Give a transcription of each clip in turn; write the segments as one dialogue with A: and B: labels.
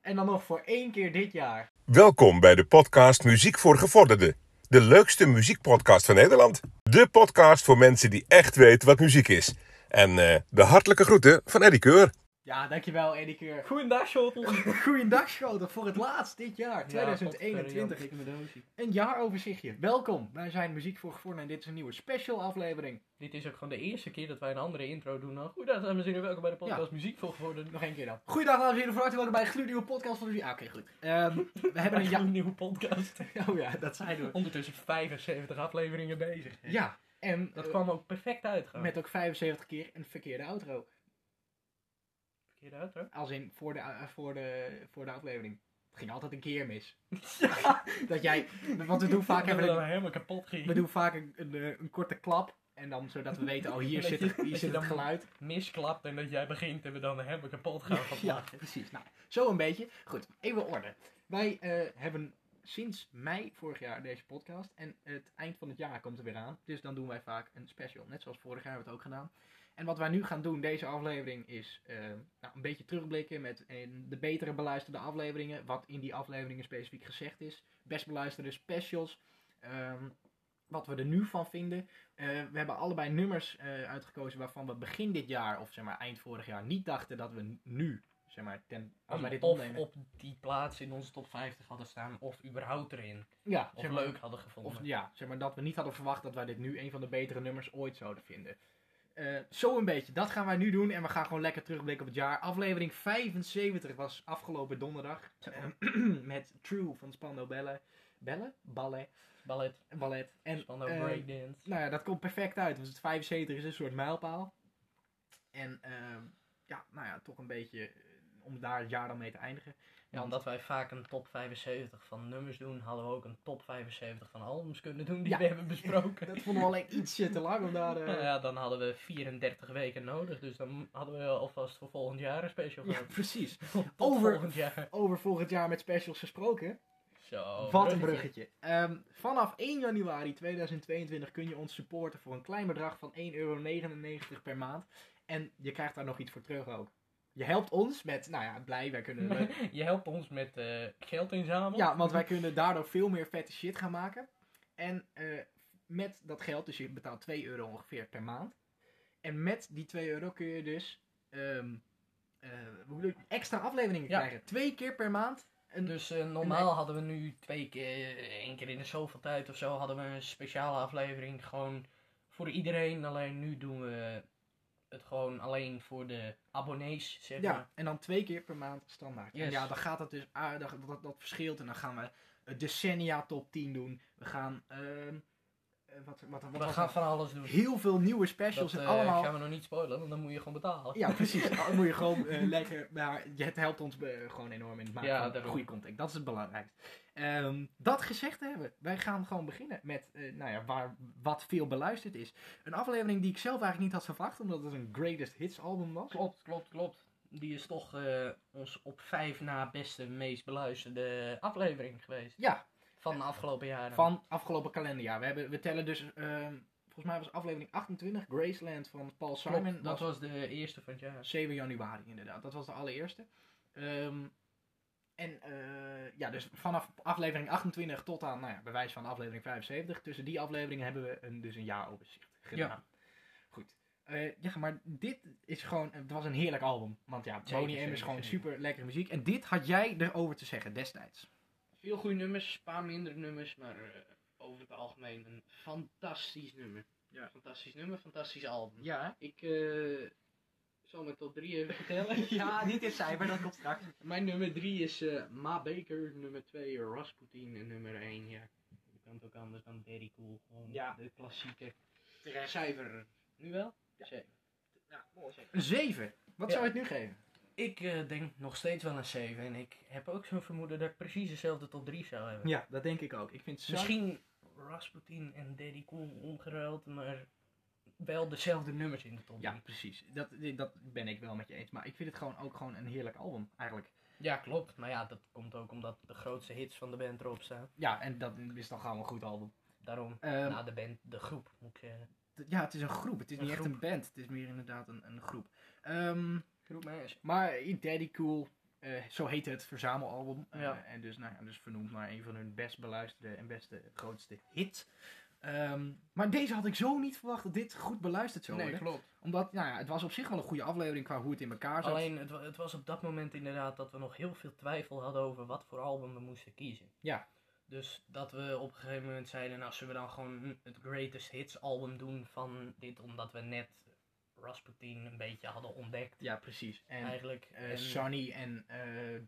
A: En dan nog voor één keer dit jaar.
B: Welkom bij de podcast Muziek voor Gevorderden. De leukste muziekpodcast van Nederland. De podcast voor mensen die echt weten wat muziek is. En eh, de hartelijke groeten van Eddie Keur.
A: Ja, dankjewel Eddie Keur.
C: Goeiedag, Schotel.
A: Goeiedag Schoten voor het laatst dit jaar, 2021. een jaaroverzichtje. Welkom, wij zijn Muziek voor Gevorderden en dit is een nieuwe special aflevering.
C: Dit is ook gewoon de eerste keer dat wij een andere intro doen dan. Goeiedag, dames en heren. Welkom bij de podcast Muziek voor Gevorderden.
A: Nog één keer dan. Goeiedag dames en heren, van harte welkom bij een gloednieuwe podcast van de Ah, oké, goed. Ehm, we hebben een
C: Een
A: ja...
C: nieuwe podcast.
A: Oh ja, dat zijn we.
C: Ondertussen 75 afleveringen bezig.
A: Ja, en
C: Dat
A: eh,
C: kwam ook perfect uit. gewoon.
A: met ook 75 keer een verkeerde outro.
C: Verkeerde auto.
A: Als in voor de, eh, voor de, voor de aflevering. Het ging altijd een keer mis. Dat jij, want we doen vaak
C: dat
A: even een-
C: dan helemaal kapot ging.
A: We doen vaak een, een, eh, een korte klap. En dan zodat we weten, oh hier
C: Dat
A: zit,
C: je-
A: het, hier
C: dat
A: zit
C: je
A: het
C: dan-
A: geluid.
C: Misklapt en dat jij begint en we dan helemaal kapot gaan van
A: Ja,
C: lachen.
A: precies. Nou, zo een beetje. Goed, even orde. Wij eh, hebben sinds mei vorig jaar deze podcast. En het eind van het jaar komt er weer aan. Dus dan doen wij vaak een special. Net zoals vorig jaar hebben we het ook gedaan. En wat wij nu gaan doen, deze aflevering, is eh, nou, een beetje terugblikken met eh, de betere beluisterde afleveringen. Wat in die afleveringen specifiek gezegd is. Best beluisterde specials. ehm, wat we er nu van vinden. Eh, we hebben allebei nummers eh, uitgekozen waarvan we begin dit jaar, of zeg maar eind vorig jaar, niet dachten dat we nu, zeg maar, ten, als wij dit
C: of
A: opnemen.
C: op die plaats in onze top 50 hadden staan, of überhaupt erin.
A: ja,
C: Of
A: zeg maar,
C: leuk hadden gevonden.
A: Of ja, zeg maar dat we niet hadden verwacht dat wij dit nu een van de betere nummers ooit zouden vinden. Eh, zo een beetje, dat gaan wij nu doen en we gaan gewoon lekker terugblikken op het jaar. Aflevering 75 was afgelopen donderdag eh, met True van Spando Bellen. Bellen? Ballet.
C: Ballet,
A: Ballet. En
C: spannend
A: eh,
C: breakdance.
A: nou ja, dat komt perfect uit. Dus het 75 is een soort mijlpaal. En ehm, ja, nou ja, toch een beetje eh, om daar het jaar dan mee te eindigen.
C: Ja, omdat wij vaak een top 75 van nummers doen, hadden we ook een top 75 van albums kunnen doen die
A: Ja.
C: we hebben besproken.
A: Dat vonden we alleen ietsje te lang om daar... eh,
C: Nou ja, dan hadden we 34 weken nodig, dus dan hadden we alvast voor volgend jaar een special
A: ja,
C: gehad.
A: precies.
C: Tot
A: over-
C: volgend jaar.
A: Over volgend jaar met specials gesproken.
C: Zo.
A: Wat een bruggetje. Ehm, vanaf 1 januari 2022 kun je ons supporten voor een klein bedrag van 1,99 euro per maand. En je krijgt daar nog iets voor terug ook. Je helpt ons met, nou ja, blij, wij kunnen...
C: Je helpt ons met eh, geld inzamelen.
A: Ja, want wij kunnen daardoor veel meer vette shit gaan maken. En eh, met dat geld, dus je betaalt 2 euro ongeveer per maand. En met die 2 euro kun je dus ehm, eh, hoe bedoel ik, extra afleveringen
C: Ja.
A: krijgen. Twee keer per maand. Een,
C: Dus eh, normaal hadden we nu twee keer, eh, één keer in de zoveel tijd of zo, hadden we een speciale aflevering gewoon voor iedereen. Alleen nu doen we het gewoon alleen voor de abonnees, zeg maar.
A: ja, en dan twee keer per maand standaard. En
C: Yes.
A: ja, dan gaat het dus aardig, dat, dat, dat verschilt. En dan gaan we het decennia top 10 doen. We gaan, ehm, eh, wat, wat, wat,
C: We
A: was
C: gaan
A: het?
C: van alles doen.
A: heel veel nieuwe specials.
C: dat
A: en
C: eh,
A: allemaal
C: gaan we nog niet spoilen, want dan moet je gewoon betalen.
A: Ja, precies. Dan moet je gewoon eh, lekker. Maar je- het helpt ons eh, gewoon enorm in het maken
C: Ja,
A: van
C: daarom.
A: goede content. Dat is het belangrijkste. Ehm, dat gezegd te hebben, wij gaan gewoon beginnen met eh, nou ja, waar, wat veel beluisterd is. Een aflevering die ik zelf eigenlijk niet had verwacht, omdat het een greatest hits album was.
C: Klopt, klopt, klopt. Die is toch eh, ons op vijf na beste, meest beluisterde aflevering geweest.
A: Ja,
C: Van de afgelopen jaren.
A: van afgelopen kalenderjaar. We, hebben, we tellen dus, ehm, volgens mij was aflevering 28, Graceland van Paul
C: Klopt,
A: Simon.
C: dat was de eerste van het jaar.
A: 7 januari inderdaad. Dat was de allereerste. Ehm, en eh, ja, dus vanaf aflevering 28 tot aan, nou ja, bewijs van aflevering 75. Tussen die afleveringen hebben we een, dus een jaaroverzicht gedaan. Goed. Eh, ja, maar dit is gewoon, het was een heerlijk album. Want ja,
C: Zeker,
A: Boney M is
C: zeker,
A: gewoon
C: zeker.
A: super lekkere muziek. En dit had jij erover te zeggen destijds.
C: Veel goede nummers, een paar minder nummers, maar eh, over het algemeen een fantastisch nummer.
A: Ja.
C: Fantastisch nummer, fantastisch album.
A: Ja,
C: Ik eh, zal mijn top 3 even vertellen.
A: niet in cijfer, dat komt straks.
C: Mijn nummer 3 is eh, Ma Baker, nummer 2 Rasputin en nummer 1, ja. Je kan het ook anders dan Very Cool. Gewoon
A: Ja.
C: de klassieke cijfer. Nu wel? Zeven.
A: Ja, mooi. Een 7. Wat
C: Ja.
A: zou je het nu geven?
C: Ik eh, denk nog steeds wel een 7 en ik heb ook zo'n vermoeden dat ik precies dezelfde top 3 zou hebben.
A: Ja, dat denk ik ook. Ik vind
C: Misschien Rasputin en Daddy Cool omgeruild, maar wel dezelfde nummers in de top 3.
A: Ja, precies. Dat, dat ben ik wel met je eens. Maar ik vind het gewoon ook gewoon een heerlijk album, eigenlijk.
C: Ja, klopt. Maar ja, dat komt ook omdat de grootste hits van de band erop staan.
A: Ja, en dat is dan gewoon een goed album.
C: Daarom,
A: Ehm,
C: na de band, de groep moet ik zeggen.
A: t- ja, het is een groep. Het is
C: Nou, Een
A: niet echt
C: groep.
A: een band. Het is meer inderdaad een, een groep. Ehm,
C: Groep meisjes.
A: maar Daddy Cool, eh, eh, zo heette het verzamelalbum. Eh,
C: Ja.
A: en dus, nou, ja, dus vernoemd naar een van hun best beluisterde en beste grootste hit. Ehm, maar deze had ik zo niet verwacht dat dit goed beluisterd zou worden.
C: klopt.
A: Omdat, nou ja, het was op zich wel een goede aflevering qua hoe het in elkaar zat.
C: Alleen, het, wa- het was op dat moment inderdaad dat we nog heel veel twijfel hadden over wat voor album we moesten kiezen.
A: Ja.
C: Dus dat we op een gegeven moment zeiden, nou zullen we dan gewoon het Greatest Hits album doen van dit, omdat we net Rasputin een beetje hadden ontdekt.
A: Ja, precies. En
C: eigenlijk.
A: eh,
C: en
A: Sunny en eh,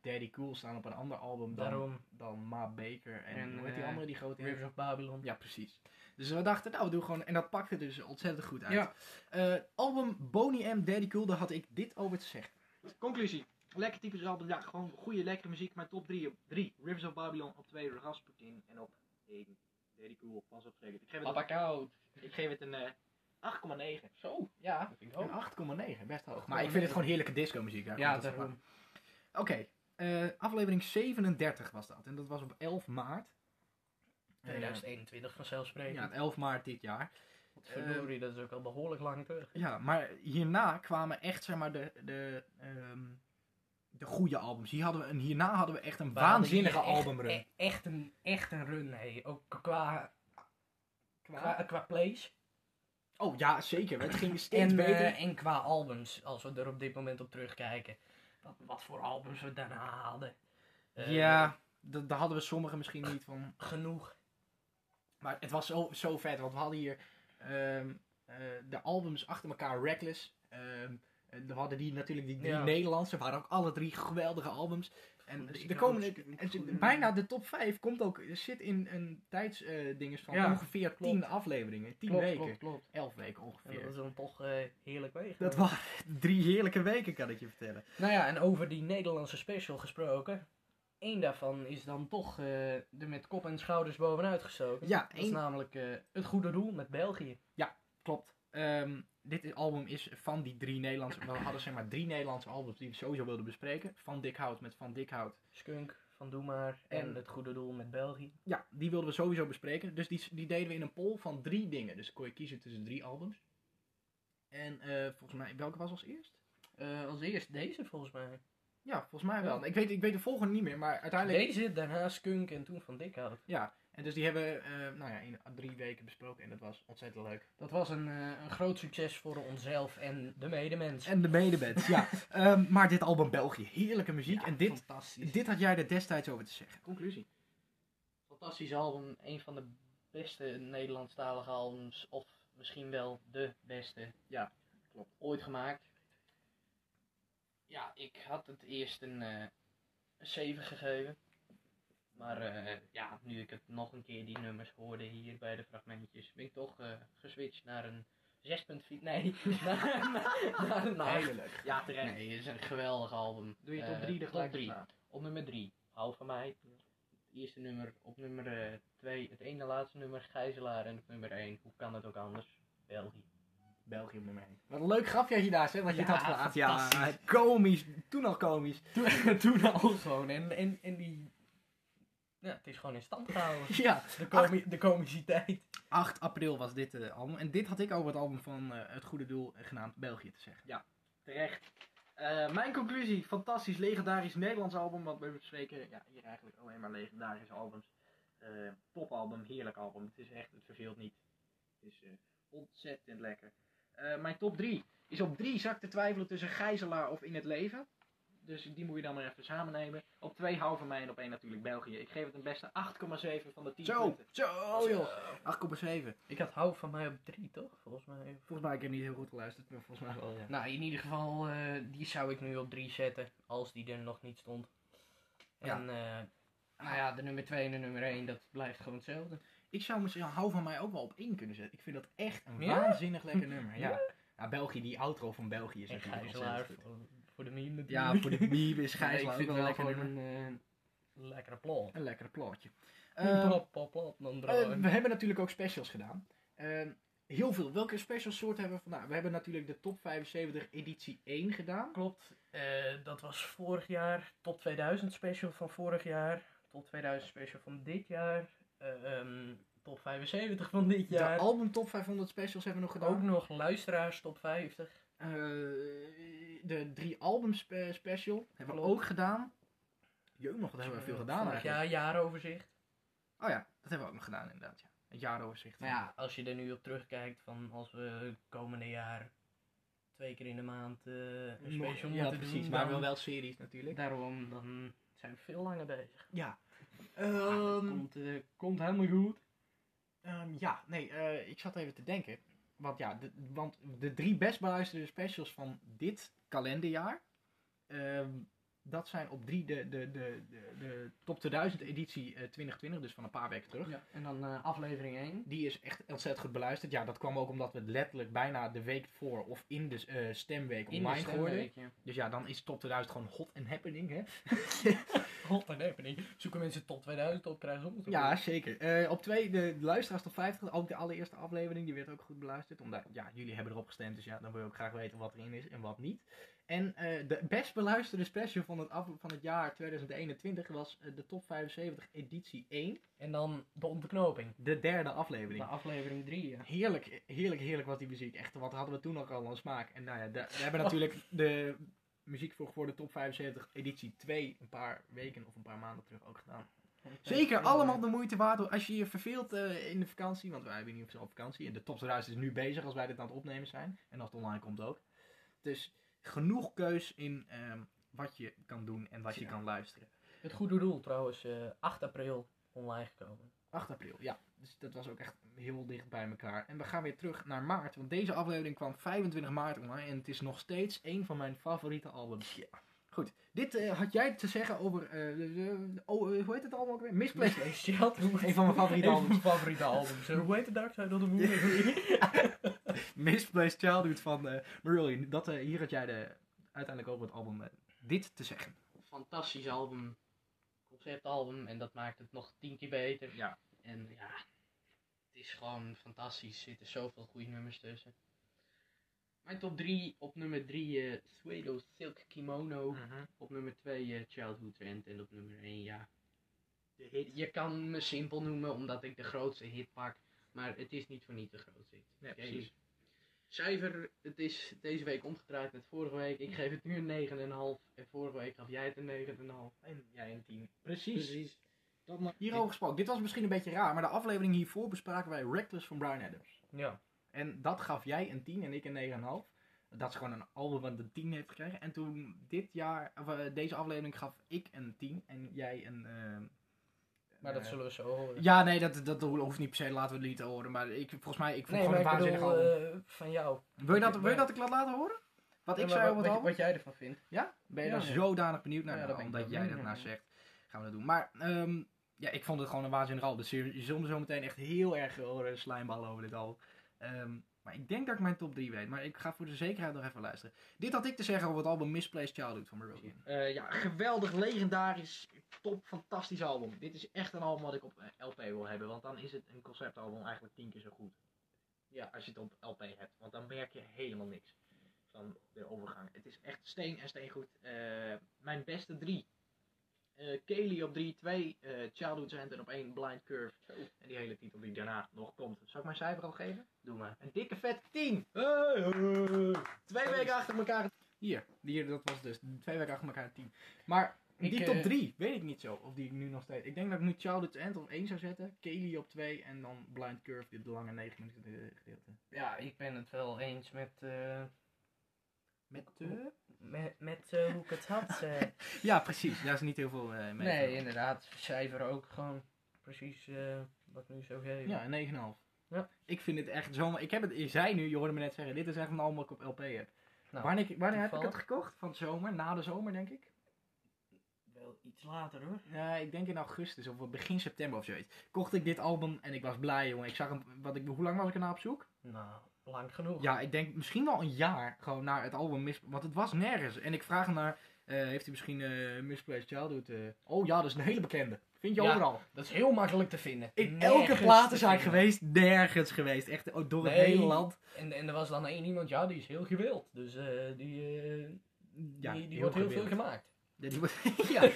A: Daddy Cool staan op een ander album dan,
C: daarom
A: dan Ma Baker en,
C: En,
A: hoe heet die
C: eh,
A: andere die grote hit?
C: Rivers of Babylon.
A: Ja, precies. Dus we dachten, nou, we doen gewoon... En dat pakte dus ontzettend goed uit.
D: Ja.
A: Eh, album Boney M, Daddy Cool, daar had ik dit over te zeggen.
D: Conclusie. Lekker typisch album. Ja, gewoon goede, lekkere muziek. Maar top 3 op 3. Rivers of Babylon. Op 2 Rasputin. En op 1 Daddy Cool. Pas op zeker. Ik geef het,
C: Koud.
D: ik geef het een eh 8,9.
C: Zo, ja. Dat vind ik ook.
A: Een 8,9, best hoog. Maar ik vind het gewoon heerlijke disco muziek.
C: Ja, daarom.
A: Oké, eh, aflevering 37 was dat. En dat was op 11 maart. Eh,
C: 2021 vanzelfsprekend.
A: ja, 11 maart dit jaar. Eh,
C: Want verdorie, dat is ook al behoorlijk lang terug.
A: Ja, maar hierna kwamen echt, zeg maar, de... de ehm, de goede albums. Hier hadden we een, hierna hadden we echt een
C: We hadden
A: waanzinnige
C: hier echt-
A: albumrun.
C: e- Echt een, echt een run, hé. Ook qua, qua, qua plays.
A: Oh ja, zeker. Het ging steeds
C: En,
A: beter.
C: eh, en qua albums, als we er op dit moment op terugkijken. Wat, wat voor albums we daarna hadden. Eh,
A: ja, d- daar hadden we sommigen misschien niet van.
C: Genoeg.
A: Maar het was zo, zo vet, want we hadden hier ehm, eh, de albums achter elkaar, Reckless. ehm, en we hadden die natuurlijk die drie
C: Ja.
A: Nederlandse, waren ook alle drie geweldige albums. En
D: Goed,
C: Dus
A: de
D: ik
A: komende,
D: ook.
A: en ze- bijna de top 5 komt ook, zit in een tijdsdinges van
C: Ja,
A: ongeveer 10 afleveringen, 10 weken,
C: klopt.
A: 11 weken
C: En dat
A: ongeveer.
C: was dan toch eh, heerlijk weg.
A: Dat waren drie heerlijke weken, kan ik je vertellen.
C: Nou ja, en over die Nederlandse special gesproken. Eén daarvan is dan toch eh, er met kop en schouders bovenuit gestoken.
A: Ja,
C: Dat is
A: één
C: namelijk eh, het goede doel met België.
A: Klopt. Ehm, dit is- album is van die drie Nederlandse... We hadden zeg maar drie Nederlandse albums die we sowieso wilden bespreken. Van Dikhout met Van Dikhout.
C: Skunk van Doe Maar en,
A: En-
C: het goede doel met België.
A: Ja, die wilden we sowieso bespreken. Dus die, die deden we in een poll van drie dingen. Dus kon je kiezen tussen drie albums. En eh, volgens mij... Welke was als eerst?
C: Eh, als eerst deze volgens mij.
A: Ja, volgens mij wel.
C: Ja.
A: Ik weet, ik weet de volgende niet meer, maar uiteindelijk...
C: Deze, daarna Skunk en toen van Dikhout.
A: En dus die hebben we eh, nou ja, in drie weken besproken. En dat was ontzettend leuk.
C: Dat was een, eh, een groot succes voor onszelf en de medemens.
A: En de medeband, ja. Ehm, maar dit album België. Heerlijke muziek. en dit,
C: Fantastisch.
A: dit had jij er destijds over te zeggen.
D: Conclusie.
C: Fantastisch album. Een van de beste Nederlandstalige albums. Of misschien wel de beste.
D: Ja, klopt.
C: Ooit gemaakt. Ja, ik had het eerst een, eh, een 7 gegeven. Maar eh, ja, nu ik het nog een keer die nummers hoorde hier bij de fragmentjes, ben ik toch eh, geswitcht naar een 6.4. Nee, naar, naar, naar een acht.
A: Heerlijk.
D: Ja, terecht.
C: Nee, het is een geweldig album.
D: Doe je
C: Eh,
D: top 3 er gelijk
C: top drie.
D: op na.
C: Op nummer 3, hou van mij. Het eerste nummer. Op nummer 2, het ene laatste nummer, Gijzelaar. En op nummer 1, hoe kan het ook anders? België.
A: België op nummer 1. Wat een leuk grafje had je daar, zeg, wat je
C: Ja,
A: dat had gedaan. Ja,
C: fantastisch.
A: komisch. Toen al komisch.
C: Toen, toen al gewoon. En, en, en die. Ja, het is gewoon in stand gehouden.
A: Ja,
C: De, comi- de comiciteit.
A: 8 april was dit eh, album. En dit had ik over het album van eh, Het Goede Doel, eh, genaamd België, te zeggen.
D: Terecht. Eh, mijn conclusie. Fantastisch, legendarisch Nederlands album. Want we bespreken ja, hier eigenlijk alleen maar legendarische albums. Eh, topalbum, heerlijk album. Het is echt, het verveelt niet. Het is eh, ontzettend lekker. Eh, mijn top 3 is op 3 zak te twijfelen tussen Gijzelaar of In het Leven. Dus die moet je dan maar even samen nemen. Op 2 hou van mij en op 1 natuurlijk België. Ik geef het een beste 8,7 van de 10
A: Zo,
D: punten.
C: Oh,
A: zo joh. 8,7.
C: Ik had hou van mij op 3, toch? Volgens mij.
A: Volgens mij heb ik er niet heel goed geluisterd, maar volgens mij wel, ja.
C: Nou, in ieder geval, eh, die zou ik nu op 3 zetten. Als die er nog niet stond.
A: Ja.
C: En, eh, nou ja, de nummer 2 en de nummer 1, dat blijft gewoon hetzelfde.
A: Ik zou misschien Hou van mij ook wel op 1 kunnen zetten. Ik vind dat echt een
C: Ja?
A: waanzinnig lekker nummer, ja. Nou, België, die outro van België is
C: En
A: natuurlijk
C: Gijzelaar
A: ontzettend goed.
C: voor, voor de meme natuurlijk.
A: Ja, voor de meme is
C: Nee,
A: Gijzelaar ook wel een lekker nummer.
C: een eh, lekkere plot.
A: Een lekkere plaatje.
C: Ehm,
A: Ehm,
C: dan
A: Eh,
C: draaien.
A: we hebben natuurlijk ook specials gedaan. Ehm, heel veel. Welke special soort hebben we vandaag? We hebben natuurlijk de top 75 editie 1 gedaan.
C: Klopt, eh, dat was vorig jaar. Top 2000 special van vorig jaar. Top 2000 special van dit jaar. eh, ehm, top 75 van dit jaar.
A: De album top 500 specials hebben we nog
C: Ook
A: gedaan.
C: nog luisteraars top 50.
A: Eh, de drie albums spe- special hebben we
C: Klopt.
A: ook gedaan. Jeugd nog, dat hebben we veel gedaan
C: Eh, Vorig
A: eigenlijk.
C: jaar, jaaroverzicht.
A: Oh ja, dat hebben we ook nog gedaan inderdaad. Ja. Het jaaroverzicht.
C: Maar ja, als je er nu op terugkijkt van als we komende jaar twee keer in de maand eh, een
A: Nog-
C: special
A: ja,
C: moeten
A: precies.
C: doen.
A: Maar
C: dan-
A: wel wel series natuurlijk.
C: Daarom, dan zijn we veel langer bezig.
A: Ja.
C: Ah, dat
A: Ehm,
C: komt, eh, komt helemaal goed.
A: Ehm, ja, nee, eh, ik zat even te denken. Want ja, de, want de drie best beluisterde specials van dit kalenderjaar. ehm, dat zijn op drie de, de, de, de, de top 2000 editie eh, 2020, dus van een paar weken terug.
C: En dan eh, aflevering 1.
A: Die is echt ontzettend goed beluisterd. Ja, dat kwam ook omdat we het letterlijk bijna de week voor of in de eh, stemweek
C: In
A: online gooiden.
C: stemweekje.
A: Dus ja, dan is top 2000 gewoon hot and happening, hè?
C: Hot and happening. Zoeken mensen tot 2000 op, krijgen ze ons
A: Ja, zeker. Eh, op twee, de luisteraars tot 50, ook de allereerste aflevering, die werd ook goed beluisterd. Omdat, ja, jullie hebben erop gestemd, dus ja, dan wil je ook graag weten wat erin is en wat niet. En eh, de best beluisterde special van het, af, van het jaar 2021 was eh, de top 75 editie 1,
C: En dan de ontknoping.
A: de derde
C: De
A: aflevering.
C: aflevering 3, ja.
A: Heerlijk, heerlijk, heerlijk was die muziek. Echt, wat hadden we toen ook al aan smaak. En nou ja, de- we hebben natuurlijk de muziek voor geworden top 75 editie 2 een paar weken of een paar maanden terug ook gedaan. Zeker, allemaal de moeite waard. Als je je verveelt eh, in de vakantie, want wij hebben niet op vakantie. En de Top 1000 is nu bezig als wij dit aan het opnemen zijn. En als het online komt ook. Dus genoeg keus in ehm, wat je kan doen en wat je
C: Ja.
A: kan luisteren.
C: Het goede doel trouwens, eh, 8 april online gekomen.
A: 8 april, ja. Dus dat was ook echt heel dicht bij elkaar. En we gaan weer terug naar maart. Want deze aflevering kwam 25 maart online. En het is nog steeds een van mijn favoriete albums. Goed, dit eh, had jij te zeggen over... eh, de- de- oh, eh, hoe heet het allemaal ook weer? Misplaced. Een van mijn favoriete
C: Een van
A: albums.
C: mijn favoriete albums. Hoe heet het Dark Side of the Moon?
A: Misplaced Childhood van eh Marillion. Dat, eh, hier had jij de, uiteindelijk over het album eh, dit te zeggen.
C: Fantastisch album. Conceptalbum. En dat maakt het nog tien keer beter.
A: Ja.
C: En ja, het is gewoon fantastisch. Er zitten zoveel goede nummers tussen. Mijn top 3. Op nummer 3 eh Suedo Silk
A: Oh.
C: Kimono. Op nummer 2 eh, Childhood Trend. En op nummer 1 ja.
D: De hit.
C: Je kan me simpel noemen omdat ik de grootste hit pak. Maar het is niet voor niet de grootste hit.
A: Nee,
C: Oké, dus Cijfer, het is deze week omgedraaid met vorige week. Ik geef het nu een 9,5. En vorige week gaf jij het een 9,5.
D: En jij een team.
A: Precies.
D: Dat mag.
A: Hierover gesproken. Dit was misschien een beetje raar, maar de aflevering hiervoor bespraken wij Reckless van Brian Adams.
C: Ja.
A: En dat gaf jij een 10 en ik een 9,5. Dat is gewoon een album wat een 10 heeft gekregen. En toen dit jaar, of, eh, deze aflevering gaf ik een 10 en jij een... ehm,
C: Maar dat
A: eh,
C: zullen we zo horen.
A: Ja, nee, dat, dat hoeft niet per se. Laten we het niet horen. Maar ik, volgens mij, ik vond
C: nee,
A: gewoon
C: maar
A: een
C: ik
A: waanzinnig
C: bedoel,
A: album.
C: eh, van jou.
A: Wil je, dat, wil je dat ik laat laten horen? Wat ik
C: Ja, maar
A: zei over het album?
C: Wat jij ervan vindt.
A: Ja? Ben je
C: Ja,
A: daar
C: ja.
A: zodanig benieuwd naar?
C: Ja,
A: Nou,
C: daar ben ik
A: omdat
C: wel
A: jij dat nou
C: benieuwd naar,
A: zegt, gaan we dat doen. Maar ehm, ja, ik vond het gewoon een waanzinnig album. Dus je je zult me zo meteen echt heel erg horen slijmballen over dit album. Ehm, maar ik denk dat ik mijn top 3 weet. Maar ik ga voor de zekerheid nog even luisteren. Dit had ik te zeggen over het album Misplaced Childhood van Marillion.
D: Eh, ja, geweldig, legendarisch, top, fantastisch album. Dit is echt een album wat ik op eh, LP wil hebben, want dan is het een conceptalbum eigenlijk tien keer zo goed. Ja, als je het op LP hebt, want dan merk je helemaal niks van de overgang. Het is echt steen en steen goed. Eh, mijn beste drie. Eh Kelly op 3, 2, eh Childhood Hand en op 1 Blind Curve. En die hele titel die daarna nog komt. Zal ik mijn cijfer al geven?
C: Doe maar.
D: Een dikke vet 10! Hey, hey. Twee weken achter elkaar
A: Hier, hier, dat was dus twee weken achter elkaar 10. Maar
C: Ik,
A: die
C: eh,
A: top 3 weet ik niet zo. Of die ik nu nog steeds. Ik denk dat ik nu Childhood End op 1 zou zetten. Kaylee op 2 en dan Blind Curve, dit lange 9 minuten eh, gedeelte.
C: Ja, ik ben het wel eens met, eh,
A: Met
D: eh?
C: de- met, met eh, hoe ik het had. eh.
A: Ja, precies. Daar is niet heel veel eh, mee.
C: nee,
A: van.
C: inderdaad. Cijfer ook gewoon precies eh, wat ik nu zo geven.
A: Ja, een 9,5.
C: Ja.
A: Ik vind het echt zo... Ik heb het... Je zei nu, je hoorde me net zeggen, dit is echt een album wat ik op LP heb.
C: Nou,
A: wanneer wanneer heb ik het
C: toevallig.
A: gekocht? Van de zomer? Na de zomer, denk ik?
C: Wel iets later hoor.
A: Ja, ik denk in augustus of begin september of zoiets. Kocht ik dit album en ik was blij, jongen. Ik zag hem... Wat ik, hoe lang was ik erna op zoek?
C: Nou, lang genoeg.
A: Ja, ik denk misschien wel een jaar gewoon naar het album mis... Want het was nergens. En ik vraag hem naar... eh, heeft hij misschien eh Misplaced Childhood? eh, Oh ja, dat is een hele bekende. Vind je
C: Ja.
A: overal.
C: Dat is heel makkelijk te vinden.
A: In
C: Nergens
A: elke plaat
C: te
A: is hij
C: vinden.
A: geweest, nergens geweest. Echt oh, door het
C: Nee.
A: hele land.
C: En, en er was dan één iemand, ja, die is heel gewild. Dus eh, die, eh,
A: Ja,
C: die, die
A: heel
C: wordt heel
A: gewild.
C: veel gemaakt.
A: Ja, die wordt- ja. nou,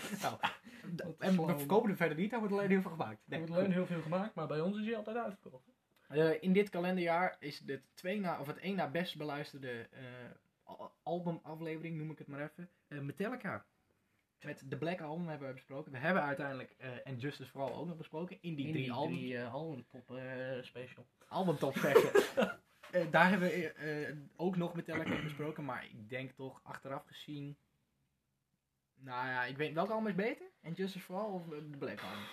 A: d-
C: Wat
A: en we
C: flauw.
A: verkopen hem verder niet, daar wordt alleen heel veel gemaakt.
C: Er
A: Nee,
C: wordt alleen
A: goed.
C: heel veel gemaakt, maar bij ons is hij altijd uitverkocht.
A: Eh, in dit kalenderjaar is het, twee na, of het één na best beluisterde eh, a- albumaflevering, noem ik het maar even, eh, Metallica. Met de Black Album hebben we besproken. We hebben uiteindelijk eh And Justice vooral ook nog besproken. In die
C: in
A: drie
C: die
A: albums.
C: drie eh, albumtop eh, special.
A: albumtop special. Eh, daar hebben we eh, eh, ook nog met Telegram besproken, maar ik denk toch achteraf gezien. Nou ja, ik weet welke album is beter? En Justice for All of eh, The Black Album?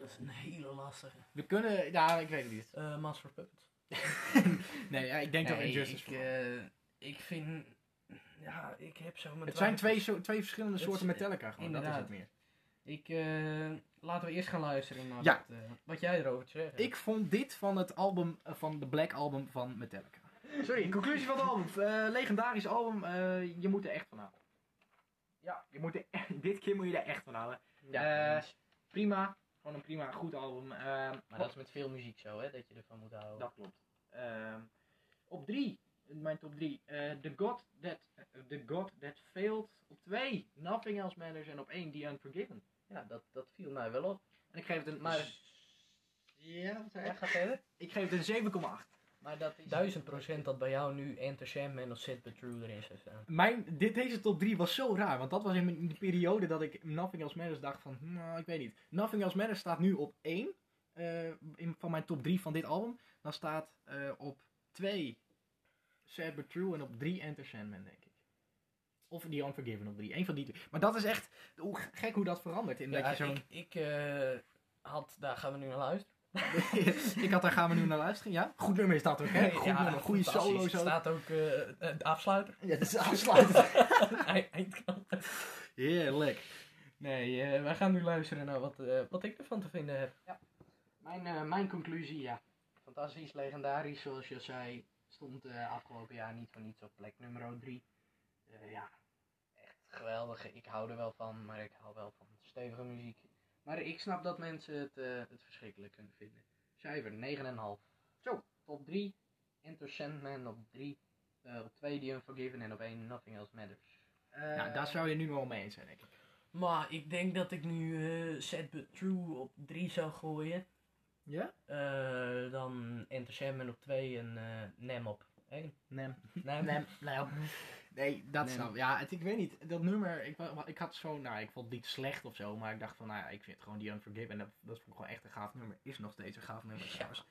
C: Dat is een hele lastige.
A: We kunnen, nou ik weet het niet.
C: Eh Master of Puppets.
A: nee, ja, ik denk toch
C: Nee,
A: En Justice
C: ik,
A: for All.
C: eh, ik vind... Ja, ik heb zo mijn
A: het zijn
C: twijfels.
A: twee, zo, twee verschillende
C: Het
A: soorten
C: eh, is- eh,
A: Metallica gewoon, dat is het meer.
C: Ik, eh, laten we eerst gaan luisteren naar
A: Ja.
C: wat, eh, wat jij erover te zeggen
A: Ik vond dit van het album, eh, van de Black Album van Metallica.
D: Sorry, conclusie van het album. Eh, legendarisch album. eh, je moet er echt van houden. Ja, je moet er, dit keer moet je er echt van houden.
C: Ja,
D: Eh,
C: eens.
D: Prima. Gewoon een prima, goed album. Eh,
C: maar dat is met veel muziek zo, hè, dat je ervan moet houden.
D: Oh. Dat klopt. Ehm, op drie, mijn top drie, eh, the, God that, the God That Failed. Op twee, Nothing Else Matters. En op één, The Unforgiven.
C: Ja, dat, dat viel mij wel op.
D: En ik geef het een...
C: Maar,
D: Maar, ja, wat zei
C: ja,
D: je?
C: ga verder.
D: Ik geef het een 7,8. Maar dat is...
C: Duizend procent dat bij jou nu Entertainment en of Sid the True erin zou staan.
A: Mijn, dit, deze top 3 was zo raar, want dat was in mijn- in de periode dat ik Nothing Else Matters dacht van, nou, ik weet niet. Nothing Else Matters staat nu op 1 eh, in, van mijn top 3 van dit album. Dan staat eh, op 2 Sad But True en op 3 Enter Sandman, denk ik. Of The Unforgiven op 3, Eén van die twee. Maar dat is echt hoe g- gek hoe dat verandert. In
C: Ja,
A: dat je zo'n...
C: ik, ik eh, had, daar gaan we nu naar luisteren.
A: ik had daar gaan we nu naar luisteren, ja? Goed nummer is dat ook, hè? Goed
C: Ja,
A: nummer, goede
C: fantastisch.
A: solo
C: Er
A: zo.
C: staat ook eh, eh, de afsluiter.
A: Ja, dat is afsluitend.
C: Eind- Eindkant.
A: Heerlijk.
C: Nee, eh, wij gaan nu luisteren naar wat, eh, wat ik ervan te vinden heb.
D: Mijn, eh, mijn conclusie, ja. Fantastisch, legendarisch, zoals je zei. Stond eh, afgelopen jaar niet voor niets op plek nummer 3. ja, echt geweldig. Ik hou er wel van, maar ik hou wel van stevige muziek. Maar ik snap dat mensen het, eh, het verschrikkelijk kunnen vinden. Cijfer 9,5. Zo, top 3. Enter Sandman op 3. op 2 The Unforgiven en op 1 Nothing Else Matters. Eh,
A: Nou, daar zou je nu wel mee eens zijn, denk ik.
C: Maar ik denk dat ik nu eh Set But True op 3 zou gooien.
A: Ja?
C: Eh, dan Entertainment op 2 en eh Nem op 1.
A: Nee.
C: Nem. Nou.
A: Nee, nee, op- nee, dat
C: Nee.
A: snap ik. Ja, het, ik weet niet. Dat nummer, ik, wa- wa- ik had zo, nou, ik vond het niet slecht of zo, maar ik dacht van, nou ja, ik vind gewoon die Unforgiven, en dat, dat vond ik gewoon echt een gaaf nummer. Is nog steeds een gaaf nummer
C: Ja.
A: trouwens.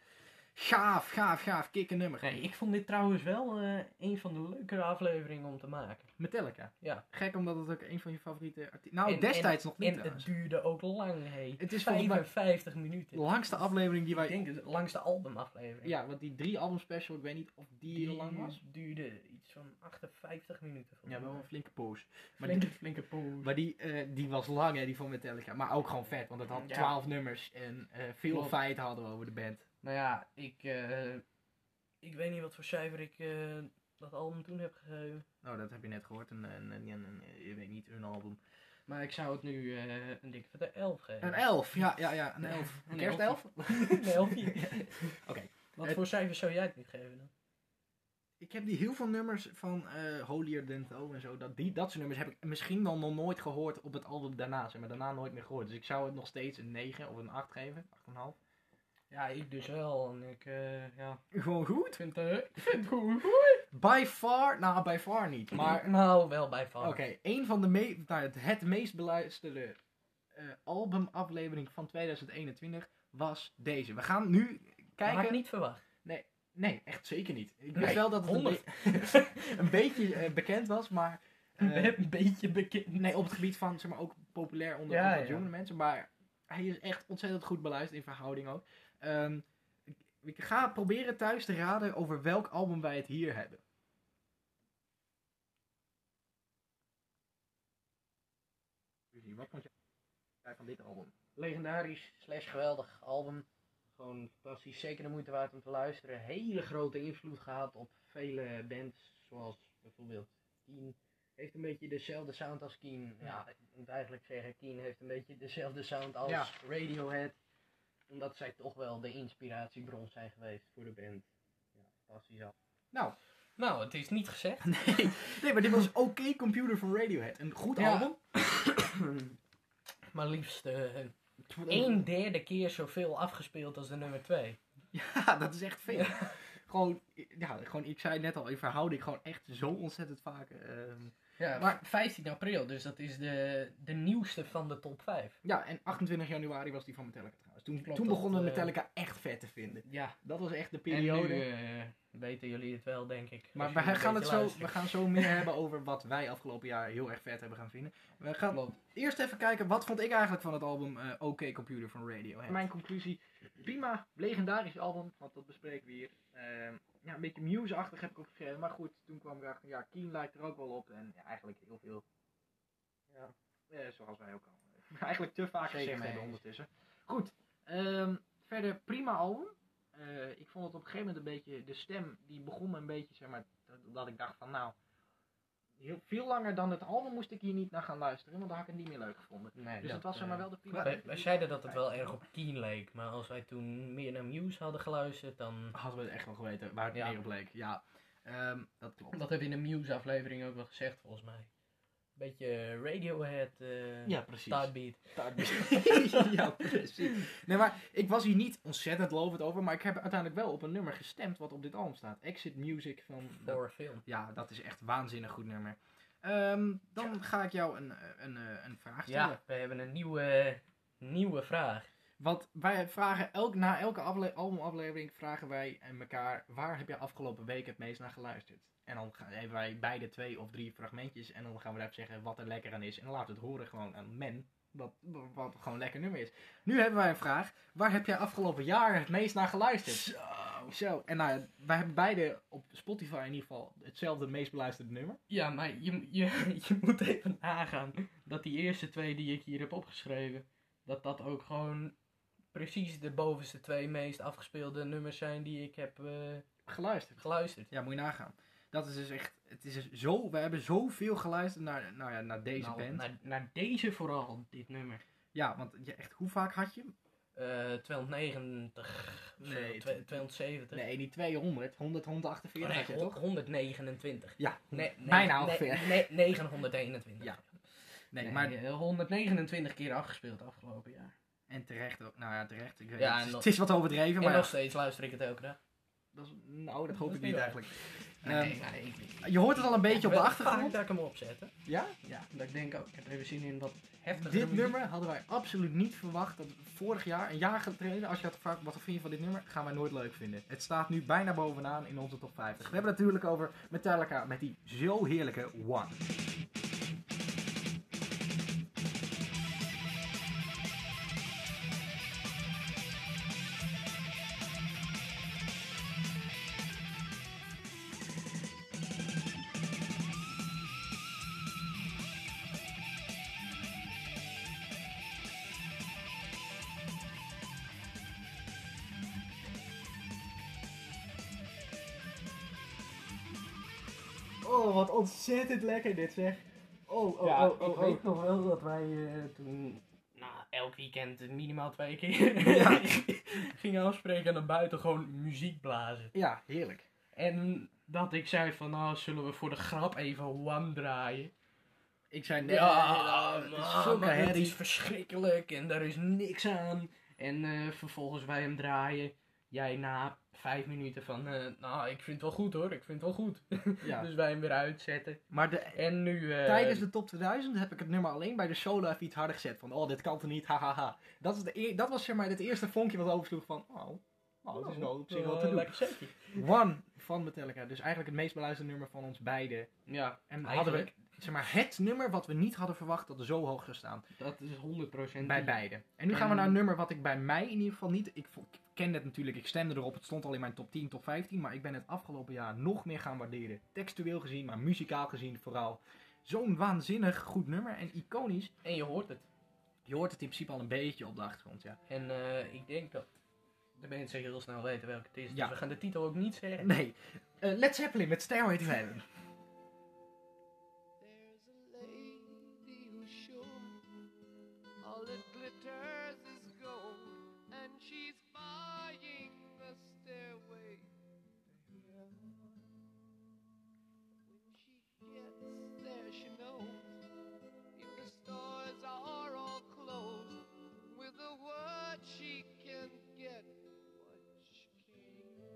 A: Gaaf, gaaf, gaaf, kikken nummer.
C: Nee, ik vond dit trouwens wel eh, een van de leukere afleveringen om te maken.
A: Metallica.
C: Ja.
A: Gek omdat het ook een van je favoriete artiesten... Nou,
C: En-
A: destijds nog niet
C: En het
A: trouwens.
C: duurde ook lang, hey.
A: Het is volgens mij
C: 55 minuten.
A: de langste aflevering die
C: Ik
A: wij...
C: denk het langste albumaflevering.
A: Ja, want die drie album special, ik weet niet of die, heel lang was.
C: duurde iets van 58 minuten.
A: Ja, wel een flinke pose. Maar
C: flinke, flinke poos.
A: Maar die, eh, die was lang, hè, die van Metallica. Maar ook gewoon vet, want het had
C: Ja.
A: 12 nummers en eh, veel
C: Klopt.
A: feiten hadden we over de band.
C: Nou ja, ik, eh, ik weet niet wat voor cijfer ik eh, dat album toen heb gegeven.
A: Oh, dat heb je net gehoord. Een, een, een, een- een- ik weet niet, een album.
C: Maar ik zou het nu eh, een dikke vette 11 geven.
A: Een elf, ja, ja, ja, een elf.
C: Een
A: Een kerstelf?
C: Een elfje.
A: Oké.
C: Wat
A: Het-
C: voor cijfers zou jij het niet geven dan?
A: Ik heb die heel veel nummers van eh Holier Than Thou en zo. Dat, die, dat soort nummers heb ik misschien wel nog nooit gehoord op het album daarna. Zeg maar daarna nooit meer gehoord. Dus ik zou het nog steeds een 9 of een 8 geven. 8,5.
C: Ja, ik dus wel. En ik, eh, ja,
A: Gewoon goed.
C: ik vind, eh, ik vind het goed.
A: By far, nou, by far niet. Maar
C: Maar nou, wel bij van.
A: Oké, een van de me nou, het, het meest beluisterde eh, albumaflevering van 2021 was deze. We gaan nu
C: Kijk,
A: kijken.
C: niet verwacht.
A: Nee, echt zeker niet. Ik wist
C: Nee,
A: wel dat het een,
C: honderd.
A: be- een beetje eh, bekend was, maar. eh,
C: een beetje bekend.
A: nee, op het gebied van, zeg maar, ook populair onder
C: Ja,
A: onder
C: ja.
A: jongere mensen. Maar hij is echt ontzettend goed beluisterd in verhouding ook. Ehm, ik, ik ga proberen thuis te raden over welk album wij het hier hebben.
D: Wat vond jij van dit album?
C: legendarisch slash geweldig album. Gewoon fantastisch, zeker de moeite waard om te luisteren. Hele grote invloed gehad op vele bands, zoals bijvoorbeeld Keen. Heeft een beetje dezelfde sound als Keen. Ja, ik moet eigenlijk zeggen, Keen heeft een beetje dezelfde sound als
A: Ja.
C: Radiohead. Omdat zij toch wel de inspiratiebron zijn geweest voor de band. Ja, fantastisch al.
A: Nou,
C: Nou, het is niet gezegd.
A: nee, nee, maar dit was Oké Computer van Radiohead. Een goed
C: Ja.
A: album.
C: maar liefst eh, een derde keer zoveel afgespeeld als de nummer 2.
A: Ja, dat is echt veel. gewoon, ja, gewoon, ik zei het net al, in verhouding gewoon echt zo ontzettend vaak. ehm,
C: Ja,
A: Maar-
C: maar 15 april, dus dat is de, de nieuwste van de top 5.
A: ja, en 28 januari was die van Metallica trouwens. Toen,
C: Klopt,
A: toen
C: dat,
A: begonnen
C: eh,
A: Metallica echt vet te vinden.
C: Ja,
A: Dat was echt de
C: periode.
A: periode.
C: eh, weten jullie het wel, denk ik.
A: maar
C: als
A: we
C: jullie een
A: gaan, het
C: beetje
A: zo,
C: luisteren.
A: we gaan zo meer hebben over wat wij afgelopen jaar heel erg vet hebben gaan vinden. We gaan
C: Klopt.
A: eerst even kijken, wat vond ik eigenlijk van het album eh, OK Computer van Radiohead?
D: Mijn conclusie, prima, legendarisch album, want dat bespreken we hier. Ehm, ja, een beetje muse-achtig heb ik ook geschreven, maar goed, toen kwam ik erachter, ja, Keen lijkt er ook wel op. En ja, eigenlijk heel veel, ja, eh, zoals wij ook al eh, eigenlijk te vaak
A: Zeker
D: gezegd
A: mee
D: hebben
A: eens.
D: ondertussen. Goed, ehm, verder prima album. Eh, ik vond het op een gegeven moment een beetje, de stem die begon me een beetje, zeg maar, dat, dat ik dacht van nou, heel, veel langer dan het album moest ik hier niet naar gaan luisteren, want dan had ik het niet meer leuk gevonden.
C: Nee,
D: Dus
C: dat,
D: het was zeg
C: eh,
D: maar wel de prima.
C: Wij, wij zeiden dat het wel erg op Keen leek, maar als wij toen meer naar Muse hadden geluisterd, dan...
A: Hadden we het echt wel geweten waar het
C: Ja.
A: meer op leek. Ja, Ehm, dat klopt.
C: Dat hebben we in de Muse aflevering ook wel gezegd, volgens mij. Beetje Radiohead, eh
A: Ja, precies.
C: Starbeat.
A: ja, precies. Nee, maar ik was hier niet ontzettend lovend over, maar ik heb uiteindelijk wel op een nummer gestemd wat op dit album staat. Exit Music van...
C: Voor een film.
A: Ja, dat is echt waanzinnig goed nummer. Ehm, dan ga ik jou een, eh, een, eh, een vraag stellen.
C: Ja, we hebben een nieuwe, nieuwe vraag.
A: Want wij vragen elk, na elke afle- albumaflevering vragen wij en elkaar waar heb je afgelopen week het meest naar geluisterd? En dan gaan, hebben wij beide twee of drie fragmentjes en dan gaan we daarop zeggen wat er lekker aan is. En dan laten we het horen gewoon aan men, wat, wat gewoon een lekker nummer is. Nu hebben wij een vraag, waar heb jij afgelopen jaar het meest naar geluisterd? Zo, en nou, ja, wij hebben beide op Spotify in ieder geval hetzelfde meest beluisterde nummer.
C: Ja, maar je, je, je moet even nagaan dat die eerste twee die ik hier heb opgeschreven, dat dat ook gewoon precies de bovenste twee meest afgespeelde nummers zijn die ik heb eh,
A: Geluisterd.
C: geluisterd.
A: Ja, moet je nagaan. Dat is dus echt, het is dus zo, we hebben zoveel geluisterd naar, nou ja, naar deze
C: Nou,
A: band.
C: Naar, naar deze vooral, dit nummer.
A: Ja, want je, echt, hoe vaak had je hem?
C: Eh 290,
A: Nee,
C: nee,
A: tw-
C: 270.
A: Nee, niet 200. 100, 148 had je
C: hon-
A: toch?
C: 129.
A: Ja,
C: Oh, Nee, nee,
A: Bijna
C: nee,
A: ongeveer.
C: nee, 921.
A: Ja. nee,
C: Nee,
A: maar...
C: maar 129 keer afgespeeld afgelopen jaar.
A: En terecht ook. Nou ja, terecht. Ik weet
C: Ja,
A: het,
C: en
A: het is-
C: nog-
A: het is wat overdreven,
C: en
A: maar...
C: nog
A: ja,
C: steeds luister ik het elke dag.
A: dat is- nou, dat hoop
C: Dat
A: ik
C: is
A: niet
C: wel.
A: eigenlijk.
C: Nee,
A: Ehm,
C: nee, ik-
A: je hoort het al een beetje
C: ik
A: op de
C: wil
A: achtergrond.
C: vaak dat ik hem opzet. hè.
A: Ja?
C: Ja, dat ik denk ook. Ik heb er even zin in wat heftiger.
A: Dit nummer hadden wij absoluut niet verwacht. Dat vorig jaar, een jaar geleden, als je had gevraagd wat vind je van dit nummer, gaan wij nooit leuk vinden. Het staat nu bijna bovenaan in onze top 50. We hebben het natuurlijk over Metallica met die zo heerlijke One. Oh, wat ontzettend lekker dit zeg. Oh, oh,
C: Ja,
A: oh, oh,
C: ik
A: oh.
C: weet nog wel dat wij eh, toen... Nou, elk weekend minimaal twee keer
A: Ja.
C: gingen afspreken en dan buiten gewoon muziek blazen.
A: Ja, heerlijk.
C: En dat ik zei van, nou zullen we voor de grap even One draaien.
A: Ik zei net,
C: ja,
A: eh,
C: maar,
A: zulke
C: maar het
A: herrie.
C: is verschrikkelijk en daar is niks aan. En eh, vervolgens wij hem draaien. Jij na vijf minuten van, eh, nou ik vind het wel goed hoor, ik vind het wel goed.
A: Ja.
C: Dus wij hem weer uitzetten.
A: Maar de,
C: En nu... eh,
A: tijdens de top 2000 heb ik het nummer alleen bij de solo even iets harder gezet. Van, oh, dit kan toch niet, hahaha. Dat, is de, eer- dat was zeg maar het eerste vonkje wat oversloeg van, oh, oh dat is nou op zich wel te
C: eh,
A: doen.
C: lekker setje.
A: One van Metallica, dus eigenlijk het meest beluisterde nummer van ons beiden.
C: Ja,
A: En hadden we,
C: eigenlijk,
A: zeg maar, het nummer wat we niet hadden verwacht dat zo hoog zou staan.
C: dat is 100%
A: Bij
C: die.
A: beide. En nu gaan we
C: En-
A: naar een nummer wat ik bij mij in ieder geval niet. Ik vo- ik ken het natuurlijk, ik stemde erop. Het stond al in mijn top 10, top 15. Maar ik ben het afgelopen jaar nog meer gaan waarderen. Textueel gezien, maar muzikaal gezien vooral. Zo'n waanzinnig goed nummer en iconisch.
C: En je hoort het.
A: Je hoort het in principe al een beetje op de achtergrond, ja.
C: En eh, ik denk dat de mensen heel snel weten welke het is.
A: Ja.
C: Dus we gaan de titel ook niet zeggen.
A: Nee. Eh Led Zeppelin met Stairway to Heaven.
E: There's a lady who's sure all it glitters is gold, and she's buying a stairway to heaven. When she gets there, she knows if the stores are all closed, with a word she can get what she came. for.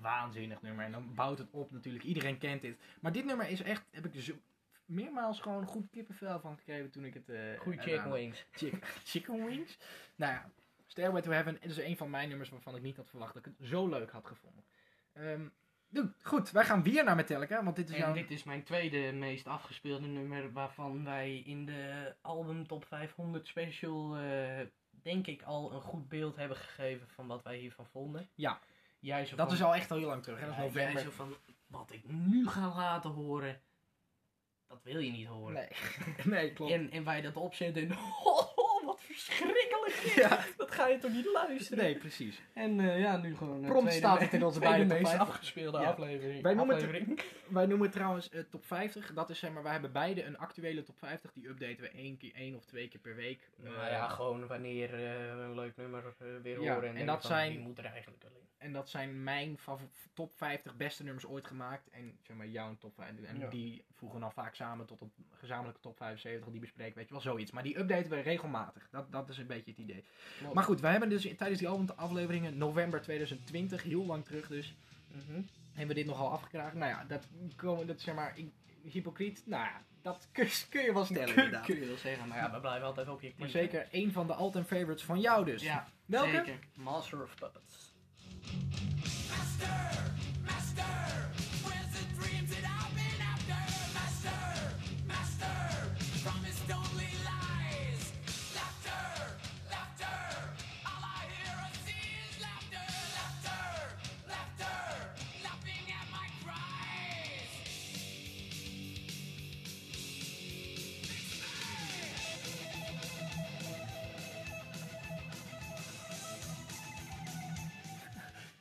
A: waanzinnig nummer. En dan bouwt het op natuurlijk. Iedereen kent dit. Maar dit nummer is echt, heb ik zo meermaals gewoon goed kippenvel van gekregen toen ik het... eh,
C: Goeie
A: eraan
C: chicken wings.
A: Chick- Chicken Wings. Nou ja, Stairway to Heaven het is een van mijn nummers waarvan ik niet had verwacht dat ik het zo leuk had gevonden. Ehm, doe, goed, wij gaan weer naar Metallica, want dit is jouw...
C: En dit is mijn tweede meest afgespeelde nummer waarvan wij in de album top 500 special eh, denk ik al een goed beeld hebben gegeven van wat wij hiervan vonden.
A: Ja.
C: Jij zo
A: Dat
C: van-
A: is al echt al heel lang terug, hè? Dat is
C: Ja, jij
A: november.
C: zo van, wat ik nu ga laten horen, dat wil je niet horen.
A: Nee. nee, klopt.
C: En, en wij dat opzetten en oh, wat verschrikkelijk dit.
A: Ja.
C: Dat ga je toch niet luisteren?
A: Nee, precies.
C: En eh, ja, nu gewoon eh,
A: Prompt
C: tweede-
A: staat het in onze
C: tweede
A: beide top
C: meest
A: 50.
C: afgespeelde
A: Ja.
C: aflevering.
A: Wij noemen het-
C: aflevering.
A: Wij noemen het trouwens eh, top 50. Dat is zeg maar, wij hebben beide een actuele top 50. Die updaten we één, keer, één of twee keer per week.
C: Nou
A: Eh,
C: ja, gewoon wanneer eh, we een leuk nummer eh, weer
A: Ja,
C: horen.
A: en
C: En, denken
A: dat
C: van,
A: zijn-
C: Die moet er eigenlijk wel in.
A: En dat zijn mijn favor- top 50 beste nummers ooit gemaakt. En zeg maar jouw top 50. En
C: Ja.
A: die voegen dan vaak samen tot een gezamenlijke top 75. Die bespreken, weet je wel, zoiets. Maar die updaten we regelmatig. Dat, dat is een beetje het idee. Maar goed, wij hebben dus in- tijdens die album afleveringen november 2020, heel lang terug dus,
C: Mhm.
A: hebben we dit nogal afgekraakt. Nou ja, dat, komen, dat zeg maar, ik- hypocriet, nou ja, dat kun, kun je wel stellen
C: kun,
A: inderdaad.
C: kun je wel zeggen, maar ja, we blijven altijd objectief.
A: Maar zeker één van de all-time favorites van jou dus.
C: Ja,
A: Welke?
C: zeker. Master of Puppets.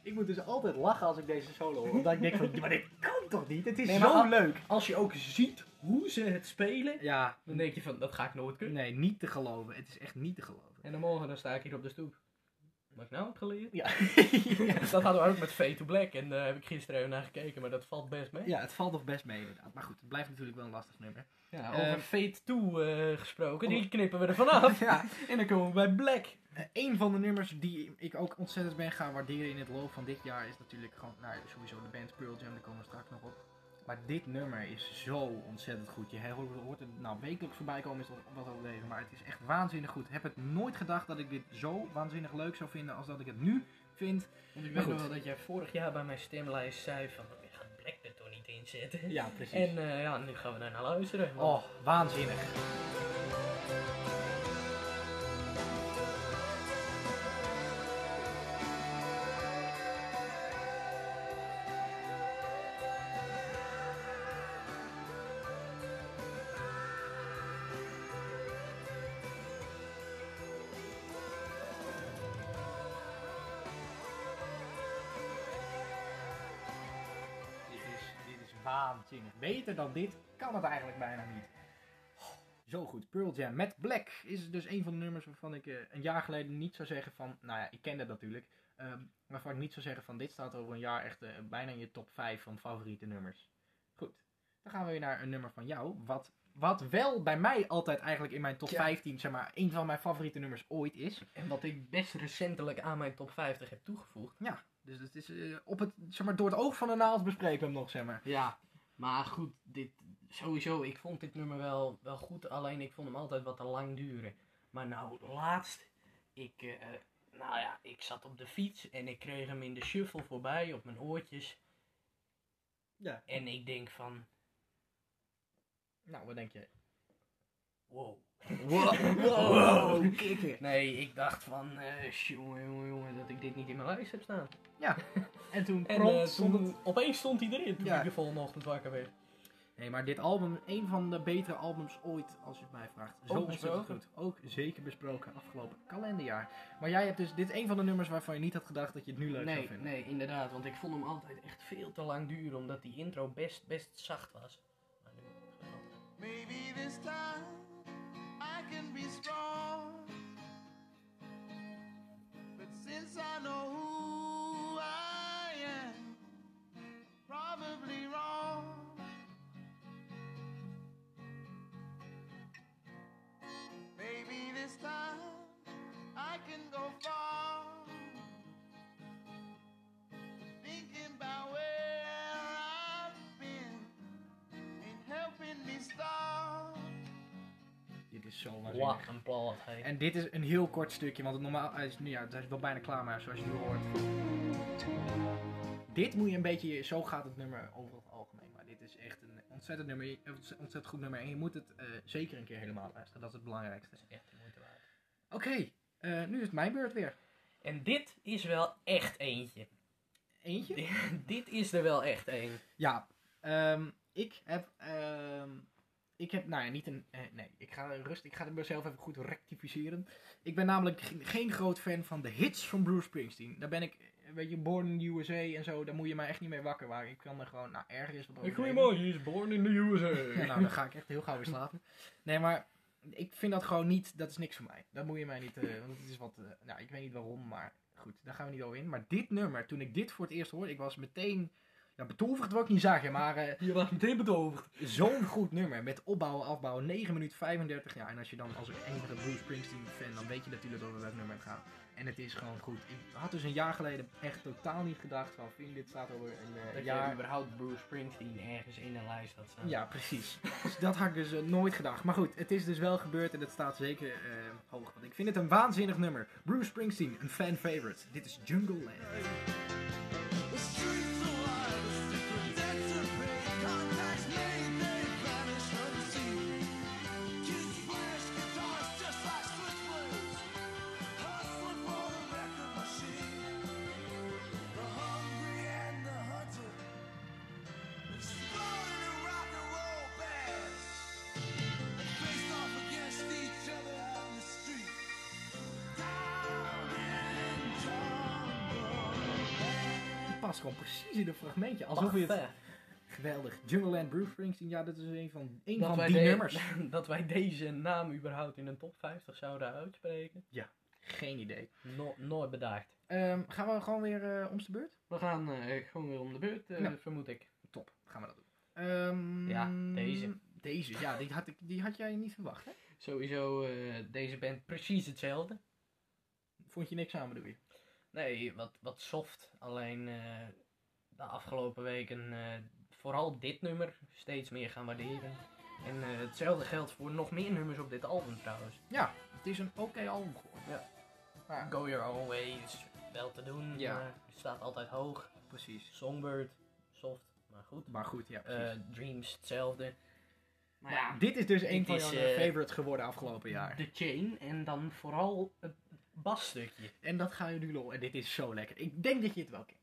A: Ik moet dus altijd lachen als ik deze solo hoor. Omdat ik denk van, ja, maar dit kan toch niet? Het is
C: Nee, maar
A: zo
C: al-
A: leuk.
C: Als je ook ziet hoe ze het spelen,
A: Ja,
C: dan denk je van, dat ga ik nooit kunnen.
A: nee, niet te geloven. Het is echt niet te geloven.
C: En dan morgen dan sta ik hier op de stoep. Wat ik nou heb geleerd?
A: Ja,
C: Dat hadden we ook met Fade to Black en daar heb ik gisteren even naar gekeken, maar dat valt best mee.
A: ja het valt nog best mee inderdaad. Maar goed, het blijft natuurlijk wel een lastig nummer.
C: Ja,
A: Eh,
C: over Fade 2 eh, gesproken, die knippen we er vanaf.
A: Ja.
C: En dan komen we bij Black.
A: Een van de nummers die ik ook ontzettend ben gaan waarderen in het loop van dit jaar is natuurlijk gewoon, nou ja, sowieso de band Pearl Jam, daar komen we straks nog op. Maar dit nummer is zo ontzettend goed. Je hoort hoort het nou wekelijks voorbij komen, is het wat overleven, maar het is echt waanzinnig goed. Heb het nooit gedacht dat ik dit zo waanzinnig leuk zou vinden als dat ik het nu vind.
C: Want
A: Maar
C: ik weet nog
A: goed.
C: wel dat jij vorig jaar bij mijn stemlijst zei van, ik ga Black er toch niet in zetten.
A: Ja, precies.
C: En eh, ja, nu gaan we daar naar luisteren. want-
A: oh, waanzinnig. Dit is, dit is waanzinnig. Beter dan dit kan het eigenlijk bijna niet. Oh, Zo goed, Pearl Jam met Black is dus een van de nummers waarvan ik eh, een jaar geleden niet zou zeggen van, nou ja, ik ken dat natuurlijk, ehm, waarvan ik niet zou zeggen van dit staat over een jaar echt eh, bijna in je top 5 van favoriete nummers. Goed, dan gaan we weer naar een nummer van jou, wat, wat wel bij mij altijd eigenlijk in mijn top
C: Ja.
A: 15, zeg maar, een van mijn favoriete nummers ooit is.
C: En wat ik best recentelijk aan mijn top 50 heb toegevoegd.
A: Dus het is eh, op het, zeg maar, door het oog van de naald bespreken we hem nog, zeg maar.
C: Ja, maar goed, dit, sowieso, ik vond dit nummer wel, wel goed, alleen ik vond hem altijd wat te lang duren. Maar nou, laatst, ik, eh, nou ja, ik zat op de fiets en ik kreeg hem in de shuffle voorbij op mijn oortjes.
A: Ja.
C: En ik denk van,
A: Nou, wat denk je?
C: wow.
A: Wow,
C: Wow.
A: kikker.
C: Nee, ik dacht van, eh jongen, jongen, jongen, dat ik dit niet in mijn lijst heb staan.
A: En toen
C: En
A: prompt
C: eh,
A: stond
C: toen-
A: het...
C: opeens stond hij erin, toen
A: Ja.
C: ik de volgende ochtend wakker werd.
A: Nee, maar dit album, een van de betere albums ooit, als je het mij vraagt. Zo
C: Ook
A: ontzettend
C: besproken.
A: goed. Ook zeker besproken afgelopen kalenderjaar. Maar jij hebt dus, dit is een van de nummers waarvan je niet had gedacht dat je het nu leuk zou
C: Nee,
A: vinden.
C: nee, inderdaad. Want ik vond hem altijd echt veel te lang duren, omdat die intro best, best zacht was. Maar nu,
E: Maybe this time I can be strong. But since I know who I am, probably wrong. Maybe this time I can go far. Thinking 'bout
A: is zo
C: Wat
A: waanzinnig.
C: een plaat, hé.
A: En dit is een heel kort stukje, want het normaal hij is, nu- ja, hij is wel bijna klaar, maar zoals je nu hoort. Dit moet je een beetje, zo gaat het nummer over het algemeen. Maar dit is echt een ontzettend, nummer, een ontzettend goed nummer. En je moet het eh, zeker een keer helemaal luisteren, dat is het belangrijkste.
C: Echt de moeite waard.
A: Oké, eh, nu is het mijn beurt weer.
C: En dit is wel echt eentje.
A: Eentje?
C: dit is er wel echt een.
A: Ja, ehm, ik heb. ehm, ik heb, nou ja, niet een. eh, nee, ik ga rust. Ik ga het mezelf even goed rectificeren. Ik ben namelijk ge- geen groot fan van de hits van Bruce Springsteen. Daar ben ik, eh, weet je, born in the USA en zo. Daar moet je mij echt niet mee wakker maken. Ik kan er gewoon, nou, ergens wat over.
C: he is born in the USA.
A: Nou, dan ga ik echt heel gauw weer slapen. Nee, maar ik vind dat gewoon niet. Dat is niks voor mij. Dat moet je mij niet. eh, want het is wat. eh, nou, ik weet niet waarom, maar goed, daar gaan we niet over in. Maar dit nummer, toen ik dit voor het eerst hoorde, ik was meteen. Ja, betoverd wil ik niet zeggen, maar. eh,
C: Je was meteen betoverd.
A: Zo'n goed nummer met opbouwen, afbouwen, 9 minuten 35 jaar. En als je dan als enige Bruce Springsteen fan, dan weet je natuurlijk over welk nummer het gaat. En het is gewoon goed. Ik had dus een jaar geleden echt totaal niet gedacht van, vind dit staat over een eh,
C: Dat je
A: jaar.
C: überhaupt Bruce Springsteen ergens in een lijst had staan.
A: Ja, precies. Dus dat had ik dus eh, nooit gedacht. Maar goed, het is dus wel gebeurd en het staat zeker eh, hoog. Want ik vind het een waanzinnig nummer. Bruce Springsteen, een fan favorite. Dit is Jungle Land.
F: The streets alive, a secret debt to pay. Contacts made, they vanish unseen. Kids flash guitars just like switchblades. Hustling for the record machine. The hungry and the hunted, exploding in rock and roll bands. They faced off against each other on the street. Down in Jungle Land.
A: Die past gewoon precies in een fragmentje. Alsof je het... Geweldig. Jungle Land, Bruce Springsteen. Ja, dat is een van, een
C: Dat
A: van
C: wij,
A: die
C: de-
A: nummers.
C: dat wij deze naam überhaupt in een top 50 zouden uitspreken.
A: Geen idee.
C: No- nooit bedacht.
A: Ehm, gaan we gewoon weer eh, om de beurt?
C: We gaan eh, gewoon weer om de beurt, eh,
A: Ja.
C: vermoed ik.
A: Top, gaan we dat doen. Ehm,
C: Ja, deze.
A: Deze, ja, die had, ik, die had jij niet verwacht, hè?
C: Sowieso eh, deze band precies hetzelfde.
A: Vond je niks aan, bedoel je?
C: Nee, wat, wat soft. Alleen eh, de afgelopen weken eh, vooral dit nummer steeds meer gaan waarderen. En eh, hetzelfde geldt voor nog meer nummers op dit album trouwens.
A: Ja, het is een oké album geworden.
C: Ja.
A: Maar,
C: Go Your Own Way is wel te doen,
A: Ja.
C: maar staat altijd hoog.
A: precies.
C: Songbird, soft, maar goed.
A: Maar goed, ja,
C: Eh,
A: precies.
C: Dreams, hetzelfde. Maar
A: Maar
C: ja,
A: dit is dus een
C: dit
A: van
C: is,
A: jouw
C: eh,
A: favorites geworden afgelopen jaar.
C: de chain en dan vooral het basstukje.
A: En dat ga je nu lol. En dit is zo lekker. Ik denk dat je het wel kent.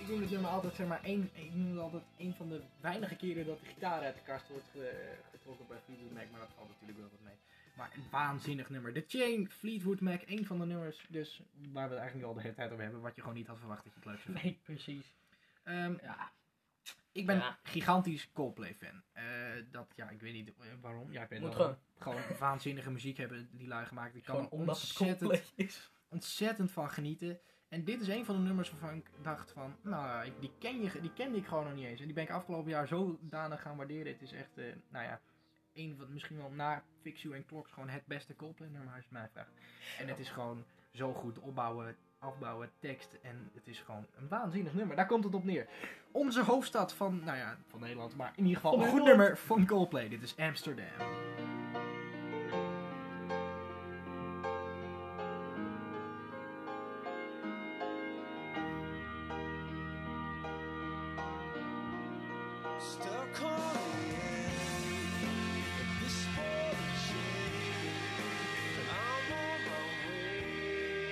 A: Ik noem dit nummer altijd, zeg maar, één, ik noem het altijd een van de weinige keren dat de gitaar uit de kast wordt ge- getrokken bij Fleetwood Mac. Maar dat valt natuurlijk wel wat mee. Maar een waanzinnig nummer. The Chain, Fleetwood Mac, één van de nummers dus waar we het eigenlijk al de hele tijd over hebben. Wat je gewoon niet had verwacht dat je het leuk zou vinden.
C: Nee, precies.
A: Ehm,
C: Ja,
A: ik ben
C: Ja.
A: gigantisch Coldplay fan. Eh, dat, ja, ik weet niet eh, waarom. Ja, ik weet
C: moet
A: wel.
C: gewoon,
A: Gewoon waanzinnige muziek hebben die lui gemaakt. Ik kan
C: gewoon
A: er
C: omdat het
A: ontzettend
C: compleet is.
A: ontzettend van genieten. En dit is een van de nummers waarvan ik dacht van, nou, ik- die, ken je, die kende ik gewoon nog niet eens. En die ben ik afgelopen jaar zodanig gaan waarderen. Het is echt, eh, nou ja, een van, misschien wel na Fix You en Clocks, gewoon het beste Coldplay nummer als je het mij vraagt. En het is gewoon zo goed opbouwen, afbouwen, tekst. En het is gewoon een waanzinnig nummer. Daar komt het op neer. Onze hoofdstad van, nou ja, van Nederland, maar in ieder geval
C: Van
A: een goed
C: Nederland.
A: nummer van Coldplay. Dit is Amsterdam.
F: Stuck on the end of this holy chain, and I'm on my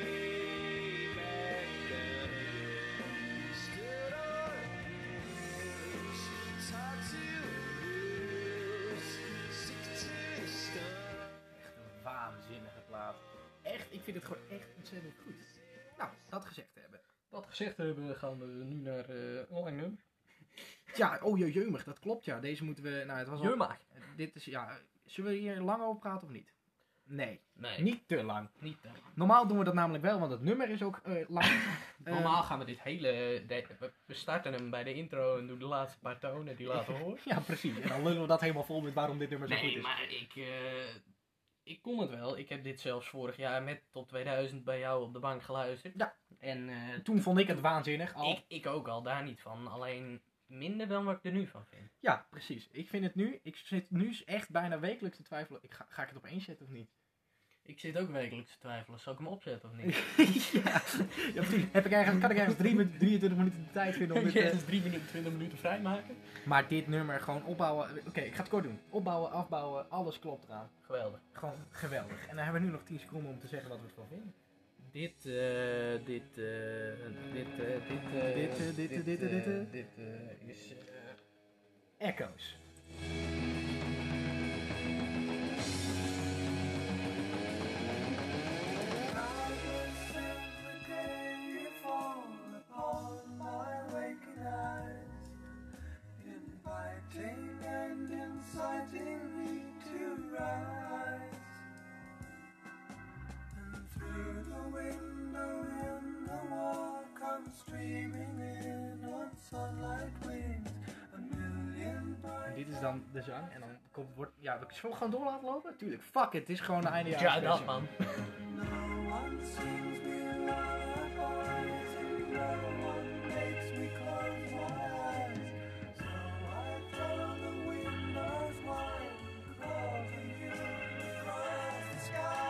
F: way back down again. Stood on hills, tied to wheels, sixteen stars.
A: Echt een waanzinnige plaat. Echt, ik vind het gewoon echt ontzettend goed. Nou, dat gezegd hebben.
C: Dat gezegd hebben, gaan we nu naar eh een lang nummer.
A: Ja, oh je jeumig, dat klopt ja. Deze moeten we, nou het was al...
C: Jurmaak.
A: Dit is, ja, Zullen we hier lang over praten of niet? Nee,
C: Nee, niet,
A: niet te lang.
C: niet eh,
A: Normaal doen we dat namelijk wel, want het nummer is ook eh, lang.
C: Normaal gaan we dit hele... de- we- we starten hem bij de intro en doen de laatste paar tonen die laten horen.
A: Eh, ja, precies. En dan lullen we dat helemaal vol met waarom dit nummer zo goed
C: Nee,
A: is.
C: maar ik, eh, ik kon het wel. Ik heb dit zelfs vorig jaar met tot 2000 bij jou op de bank geluisterd.
A: Ja.
C: En eh,
A: Toen vond ik het waanzinnig al.
C: ik, ik ook al, daar niet van. Alleen minder dan wat ik er nu van vind.
A: Ja, precies. Ik vind het nu, ik zit nu echt bijna wekelijks te twijfelen. Ik ga, ga ik het op één zetten of niet?
C: Ik zit ook wekelijks te twijfelen. Zal ik hem opzetten of niet?
A: ja, ja, precies. Heb ik eigenlijk, kan ik ergens drie min- 23 minuten de tijd vinden om dit... eh,
C: 3 minuten, 20 minuten vrijmaken.
A: Maar dit nummer gewoon opbouwen. Oké, ik ga het kort doen. Opbouwen, afbouwen, alles klopt eraan.
C: Geweldig.
A: Gewoon geweldig. En dan hebben we nu nog 10 seconden om te zeggen wat we ervan vinden.
C: Dit, eh, dit, eh, dit, eh, dit, eh,
A: Dit, eh, dit, eh, dit, eh, dit, eh.
C: eh, dit, eh, is... eh,
A: Echoes.
G: Inviting and inciting me to rise, and through the window in the wall comes streaming in on sunlight wings a million
A: En
G: bright
A: dit is dan de zang. En dan komt, wordt. Ja, we zullen we gewoon door laten lopen? Tuurlijk. Fuck it, het is gewoon een eindejaars.
C: Ja, dat man.
G: No one sings me lullabies and no one makes me close my eyes. So I throw the windows wide over you across the sky.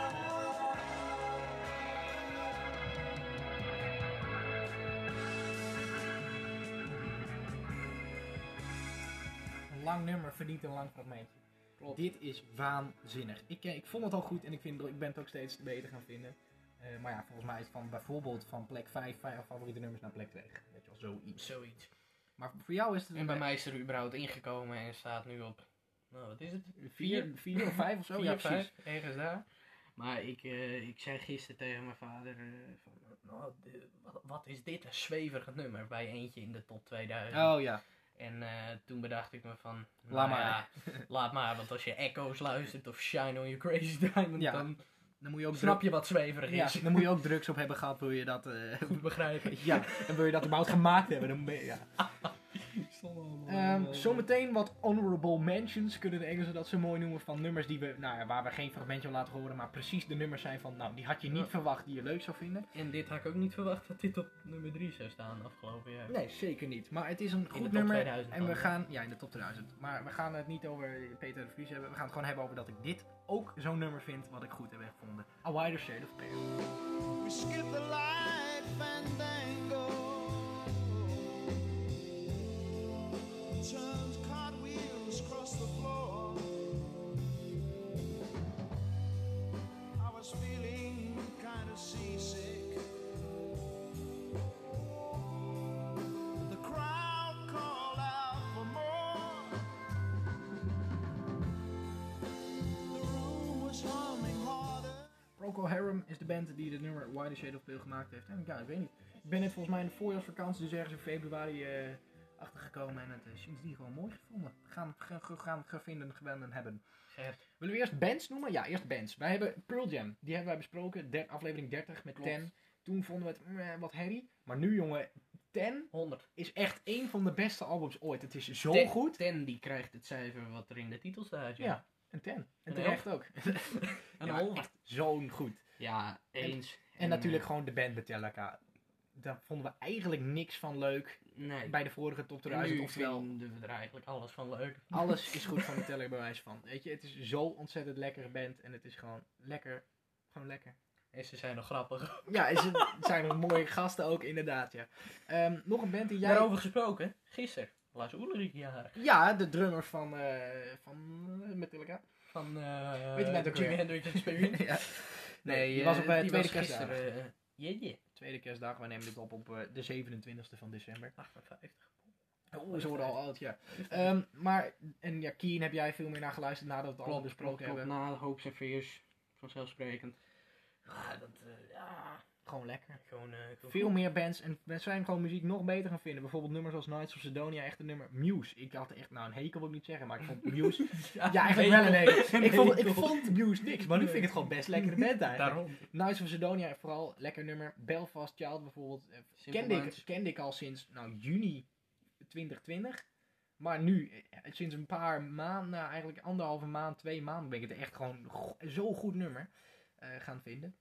A: Een lang nummer verdient een lang fragmentje.
C: Klopt.
A: Dit is waanzinnig. Ik, eh, ik vond het al goed en ik, vind, ik ben het ook steeds beter gaan vinden. Eh, maar ja, volgens mij is het van bijvoorbeeld van plek 5 vijf favoriete nummers naar plek 2. Weet je wel, zoiets.
C: Zoiets.
A: Maar voor jou is het
C: En bij mij is er überhaupt ingekomen en staat nu op, nou wat is het?
A: 4 eh, vier of 5 of zo. ja,
C: Vier,
A: precies.
C: vijf, ergens daar. Maar ik, eh, ik zei gisteren tegen mijn vader, eh, van, nou, de- wat- wat is dit een zweverig nummer bij eentje in de top 2000.
A: Oh ja.
C: En eh, toen bedacht ik me van, nou
A: Laat
C: ja, laat maar, want als je Echo's luistert of Shine On Your Crazy Diamond,
A: Ja,
C: dan
A: Dan moet je ook
C: snap je wat zweverig
A: Ja,
C: is.
A: dan moet je ook drugs op hebben gehad, wil je dat... eh,
C: Goed begrijpen.
A: ja, en wil je dat überhaupt gemaakt hebben, dan ben je... Ja. Ehm, zometeen wat honorable mentions, kunnen de Engelsen dat zo mooi noemen, van nummers die we, nou ja, waar we geen fragmentje van laten horen, maar precies de nummers zijn van, nou, die had je niet
C: Ja.
A: verwacht, die je leuk zou vinden.
C: En dit had ik ook niet verwacht dat dit op nummer 3 zou staan afgelopen jaar.
A: Nee, zeker niet. Maar het is een goed
C: top
A: nummer
C: 2000
A: en we
C: dan, hè?
A: gaan, ja, in de top 2000. Maar we gaan het niet over Peter de Vries hebben, we gaan het gewoon hebben over dat ik dit ook zo'n nummer vind, wat ik goed heb gevonden. A Wider Shade of Pale.
E: We skip the light fandango. Turns cartwheels across the floor. I was feeling kind of seasick. The crowd called out for more. The room was humming harder.
A: Procol Harum is de band die het nummer Wider Shade of Pale gemaakt heeft. En ja, ik weet niet. Ik ben net volgens mij in de voorjaarsvakantie, dus ergens in februari, eh, achtergekomen. En het is sindsdien gewoon mooi gevonden. Gaan, gaan, gaan, gaan vinden, gewennen hebben.
C: Gert.
A: Willen we eerst bands noemen? Ja, eerst bands. Wij hebben Pearl Jam. Die hebben wij besproken. Der, aflevering 30 met
C: Klopt.
A: 10. Toen vonden we het meh, wat herrie. Maar nu, jongen, 10
C: 100.
A: is echt één van de beste albums ooit. Het is zo
C: Ten-
A: goed.
C: Ten die krijgt het cijfer wat er in de titel staat. joh.
A: Ja, een 10. En
C: Een
A: terecht ook.
C: Een
A: Ja,
C: halve.
A: echt zo'n goed.
C: Ja, eens.
A: En,
C: eh,
A: natuurlijk gewoon de band Metallica. Daar vonden we eigenlijk niks van leuk
C: eh, nee.
A: bij de vorige top
C: En nu
A: 2000. Oftewel,
C: vinden we er eigenlijk alles van leuk.
A: alles is goed van Metallica bij wijze van. Weet je, het is zo ontzettend lekkere band en het is gewoon lekker. Gewoon lekker.
C: En ze zijn nog grappig.
A: Ja, en ze zijn nog mooie gasten ook, inderdaad, ja. Ehm, nog een band die jij...
C: Daarover gesproken, gisteren. Lars Ulrich jarig.
A: Ja, de drummer van, eh, van eh, Metallica.
C: Van eh
A: Weet je bent ook
C: Jimi
A: weer.
C: Hendrix Experience.
A: ja. Nee, die
C: eh,
A: was op eh,
C: die
A: tweede
C: was
A: kerstdag.
C: gisteren, eh, yeah, yeah.
A: Tweede kerstdag, we nemen dit op op eh, de 27e van december.
C: 58.
A: Oh, ze worden al oud, ja. Ehm, maar, en ja, Keen heb jij veel meer naar geluisterd nadat we het al
C: klopt,
A: besproken
C: klopt, klopt.
A: hebben.
C: Na hoops en veers, vanzelfsprekend. Ja, dat, eh, ja.
A: Gewoon lekker.
C: Gewoon, eh, ik wil-
A: Veel meer bands en we zijn gewoon muziek nog beter gaan vinden. Bijvoorbeeld nummers als Nights of Sedonia, echt een nummer. Muse. Ik had echt, nou een hekel wil ik niet zeggen, maar ik vond Muse. ja, eigenlijk wel een hekel. Ik vond, ik vond Muse niks, maar nu vind ik het gewoon best lekkere band eigenlijk.
C: Daarom.
A: Nights of Sedonia vooral, lekker nummer. Belfast Child bijvoorbeeld. eh,
C: Simple
A: Kende ik,
C: Minds.
A: kende ik al sinds nou, juni 2020. Maar nu, eh, sinds een paar maanden, nou, eigenlijk anderhalve maand, twee maanden, ben ik het echt gewoon go- zo'n goed nummer eh, gaan vinden.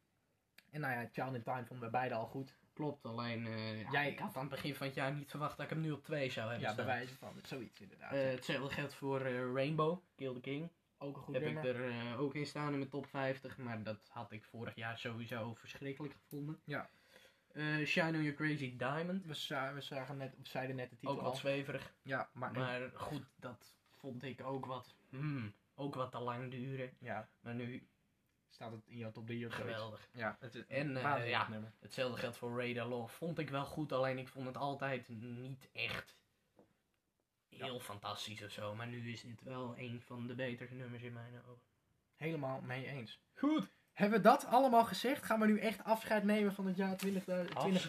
A: En nou ja, Child in Time vonden we beide al goed.
C: Klopt, alleen eh, ja,
A: Jij-
C: ik had aan het begin van het jaar niet verwacht dat ik hem nu op 2 zou hebben
A: Ja, bij
C: staan.
A: wijze van zoiets inderdaad.
C: Eh, hetzelfde geldt voor eh, Rainbow, Kill the King.
A: ook een goed
C: heb
A: nummer.
C: ik er eh, ook in staan in mijn top 50, maar dat had ik vorig jaar sowieso verschrikkelijk gevonden.
A: Ja.
C: Eh, Shine on Your Crazy Diamond,
A: We, za- we zagen net, we zeiden net de titel
C: ook
A: al.
C: wat zweverig.
A: Ja, maar,
C: Maar goed, dat vond ik ook wat, hmm, ook wat te lang duren.
A: ja,
C: Maar nu,
A: staat het in jouw top 3 of zoiets.
C: geweldig.
A: Ja, het is
C: En, eh,
A: waanzinnig
C: ja.
A: nummer.
C: Hetzelfde geldt voor Radar Love, vond ik wel goed, alleen ik vond het altijd niet echt heel fantastisch of zo. Maar nu is dit wel een van de betere nummers in mijn ogen.
A: Helemaal mee eens. Goed. Hebben we dat allemaal gezegd? Gaan we nu echt afscheid nemen van het jaar 20.000
C: Eh,
A: 20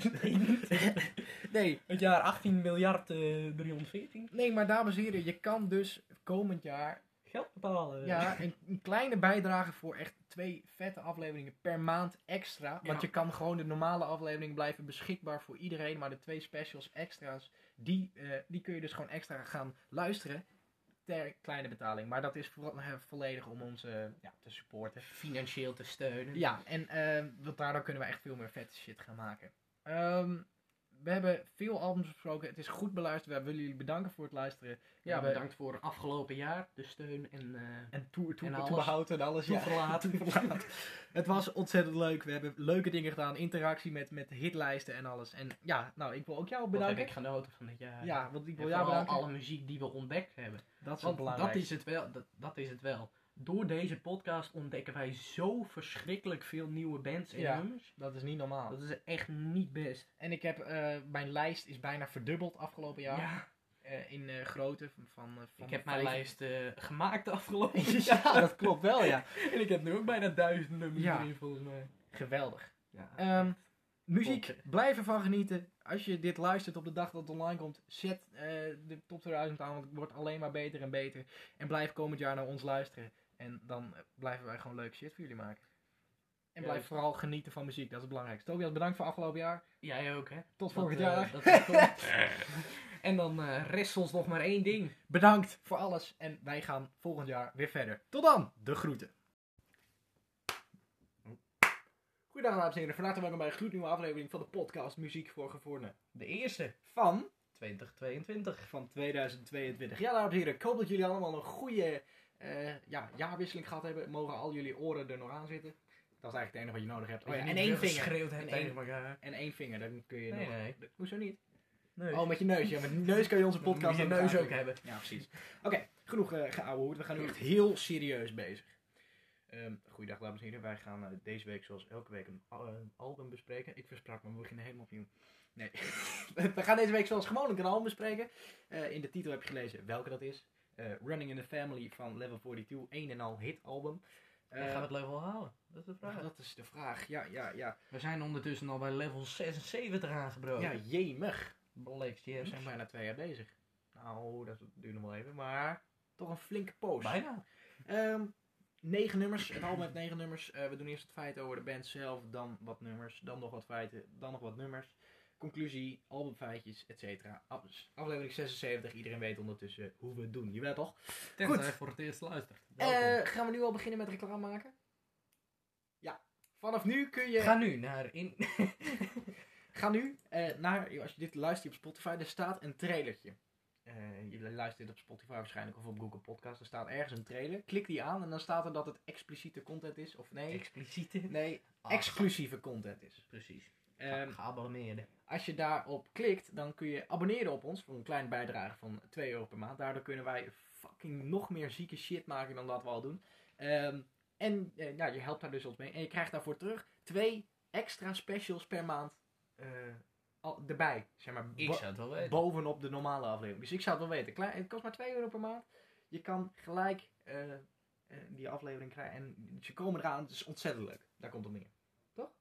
A: 20.021?
C: 20.021.
A: Nee.
C: Het jaar 18 miljard eh, 314.
A: nee, maar dames en heren, je kan dus komend jaar
C: Geld bepalen.
A: ja, een, een kleine bijdrage voor echt twee vette afleveringen per maand extra. Want
C: Ja.
A: je kan gewoon de normale afleveringen blijven beschikbaar voor iedereen. Maar de twee specials extra's, die, eh, die kun je dus gewoon extra gaan luisteren ter kleine betaling. Maar dat is vo- eh, volledig om ons eh, ja, te supporten.
C: Financieel te steunen.
A: Ja, en ehm, want daardoor kunnen we echt veel meer vette shit gaan maken. Ehm, we hebben veel albums besproken. Het is goed beluisterd. We willen jullie bedanken voor het luisteren.
C: Ja,
A: we-
C: bedankt voor het afgelopen jaar. De steun en eh
A: En toe, toe,
C: En
A: toe
C: alles.
A: behouden en alles. Ja.
C: toeverlaten.
A: Toeverlaat. het was ontzettend leuk. We hebben leuke dingen gedaan. Interactie met, met hitlijsten en alles. En ja, nou, ik wil ook jou
C: Wat heb
A: bedanken.
C: ik genoten van dit jaar.
A: Ja, want ik
C: En
A: wil jou
C: vooral
A: bedanken.
C: alle muziek die we ontdekt hebben.
A: Dat is het
C: Want dat
A: belangrijkste.
C: is het, wel, dat, dat is het wel. Door deze podcast ontdekken wij zo verschrikkelijk veel nieuwe bands en
A: Ja.
C: nummers.
A: Dat is niet normaal.
C: Dat is echt niet best.
A: En ik heb, eh, mijn lijst is bijna verdubbeld afgelopen jaar.
C: Ja,
A: Eh, in eh grootte van, van, eh, van
C: ik heb mijn
A: vijf-
C: lijst eh, gemaakt de afgelopen
A: Ja,
C: jaar.
A: dat klopt wel, ja.
C: En ik heb nu ook bijna duizend nummers
A: Ja.
C: erin volgens mij. Eh,
A: Geweldig.
C: Ja.
A: Ehm, muziek,
C: Klopt.
A: blijf ervan genieten. Als je dit luistert op de dag dat het online komt, zet eh, de top 2000 aan, want het wordt alleen maar beter en beter. En blijf komend jaar naar ons luisteren. En dan eh, blijven wij gewoon leuke shit voor jullie maken. En blijf
C: Juist.
A: vooral genieten van muziek, dat is het belangrijkste. Tobias, bedankt voor afgelopen jaar.
C: Jij ook, hè?
A: Tot volgend
C: Dat, eh,
A: jaar.
C: dat is goed. en dan eh, rest ons nog maar één ding.
A: Bedankt voor alles en wij gaan volgend jaar weer verder. Tot dan, de groeten. Goedendag dames en heren, van harte welkom bij een gloednieuwe aflevering van de podcast Muziek voor Gevorderden.
C: De eerste,
A: Van...
C: 2022.
A: van 2022. Ja, dames en heren, ik hoop dat jullie allemaal een goede eh, ja, jaarwisseling gehad hebben. Mogen al jullie oren er nog aan zitten? Dat is eigenlijk het enige wat je nodig
C: Oh
A: hebt. Oh en één vinger.
C: Schreeuwt
A: En
C: het
A: één-
C: tegen elkaar.
A: En één vinger, dan kun je
C: Nee,
A: nog...
C: nee.
A: Hoezo niet?
C: Nee.
A: Oh, met je eh, neus. Ja, met je neus kan je onze
C: Moet
A: podcast
C: je
A: ook
C: neus
A: aanklikken.
C: ook hebben.
A: Ja, precies. Oké, genoeg eh geouwehoed. We gaan nu echt heel serieus bezig. Ehm goeiedag, dames en heren. Wij gaan eh, deze week, zoals elke week, een, al- een album bespreken. Ik versprak me, we beginnen helemaal opnieuw. Nee. we gaan deze week, zoals gewoonlijk, een album bespreken. Eh, in de titel heb je gelezen welke dat is. Eh, Running in the Family van Level 42, een en al hitalbum.
C: En gaan
A: Eh,
C: we het level halen? Dat is de vraag.
A: dat is de vraag. Ja, ja, ja.
C: We zijn ondertussen al bij level 76 aangebroken.
A: Ja, jemig.
C: Blake's
A: We
C: Jams.
A: zijn bijna twee jaar bezig. Nou, dat duurt nog wel even, maar toch een flinke poos.
C: Bijna.
A: Ehm, negen nummers. Het album heeft negen nummers. Eh, we doen eerst het feit over de band zelf, dan wat nummers, dan nog wat feiten, dan nog wat nummers. Conclusie, albumfeitjes, et cetera. Af- Aflevering 76. Iedereen weet ondertussen hoe we het doen. Je weet toch?
C: Tenzij
A: Goed.
C: voor het eerst luistert.
A: Eh,
C: Welkom.
A: gaan we nu al beginnen met reclame maken? Ja. Vanaf nu kun je...
C: Ga nu naar in...
A: Ga nu eh, naar, als je dit luistert op Spotify, er staat een trailertje. Eh, je luistert dit op Spotify waarschijnlijk of op Google Podcast. Er staat ergens een trailer. Klik die aan en dan staat er dat het expliciete content is. Of nee,
C: Expliciete.
A: nee
C: Ah,
A: exclusieve content is.
C: Precies.
A: Ehm,
C: Geabonneerd.
A: als je daarop klikt, dan kun je abonneren op ons voor een kleine bijdrage van 2 euro per maand. Daardoor kunnen wij fucking nog meer zieke shit maken dan dat we al doen. Ehm, en eh, nou, je helpt daar dus ons mee. En je krijgt daarvoor terug twee extra specials per maand eh, al, erbij. Zeg maar,
C: Ik
A: bo-
C: zou het wel weten.
A: bovenop de normale aflevering. Dus ik zou het wel weten. Klein, het kost maar 2 euro per maand. Je kan gelijk eh,
C: eh, die aflevering krijgen. En ze komen eraan, het is ontzettend leuk. Daar komt het meer. Toch?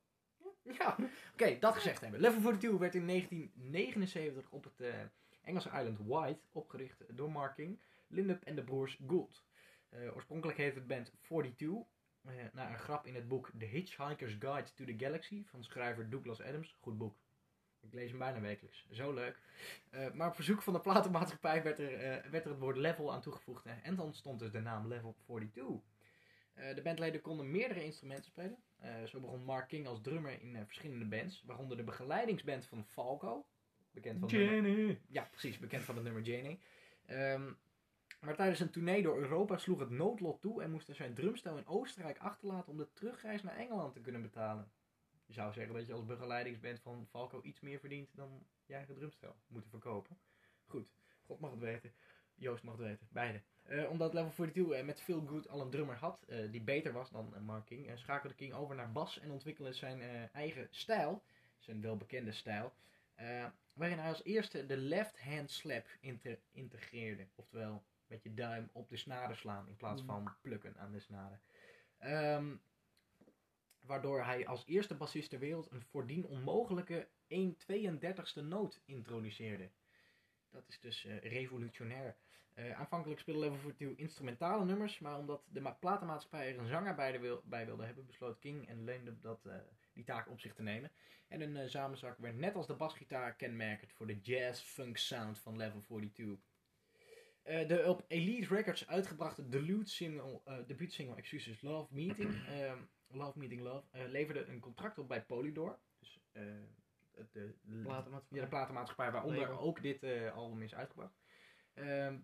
C: Ja. Oké, dat gezegd hebben. Level 42 werd in 1979 op het eh, Engelse eiland White opgericht door Mark King, Lindup en de broers Gould. Eh, oorspronkelijk heette het band 42, eh, naar een grap in het boek The Hitchhiker's Guide to the Galaxy van schrijver Douglas Adams. Goed boek. Ik lees hem bijna wekelijks. Zo leuk. Eh, maar op verzoek van de platenmaatschappij werd er, eh, werd er het woord level aan toegevoegd. hè. En dan ontstond dus de naam Level 42. Eh, de bandleden konden meerdere instrumenten spelen. Eh, zo begon Mark King als drummer in eh, verschillende bands. Waaronder de begeleidingsband van Falco. Bekend van het nummer- Ja, precies. Bekend van het nummer Jenny. Ehm, maar tijdens een tournee door Europa sloeg het noodlot toe en moest hij zijn drumstel in Oostenrijk achterlaten om de terugreis naar Engeland te kunnen betalen. Je zou zeggen dat je als begeleidingsband van Falco iets meer verdient dan je eigen drumstel moeten verkopen. Goed, God mag het weten. Joost mag het weten, beide. Eh, omdat Level 42 eh, met Phil Good al een drummer had eh, die beter was dan eh, Mark King, eh, schakelde King over naar bas en ontwikkelde zijn eh, eigen stijl, zijn welbekende stijl, eh, waarin hij als eerste de left-hand slap inte- integreerde. Oftewel, met je duim op de snaren slaan in plaats van plukken aan de snaren. Ehm, waardoor hij als eerste bassist ter wereld een voordien onmogelijke 132ste noot introduceerde. Dat is dus eh, revolutionair. Eh, aanvankelijk speelde Level 42 instrumentale nummers, maar omdat de ma- platenmaatschappij er een zanger bij, de wil- bij wilde hebben, besloot King en Leende dat, eh, die taak op zich te nemen. En een eh, samenzak werd net als de basgitaar kenmerkend voor de jazz-funk sound van Level 42. Eh, de op Elite Records uitgebrachte deluxe single, eh debuutsingle, excuses, Love Meeting, ehm, Love Meeting Love, eh, leverde een contract op bij Polydor. Dus eh, het, de, ja, de
A: Platenmaatschappij.
C: platenmaatschappij waaronder
A: Label.
C: ook dit eh, album is uitgebracht. Ehm,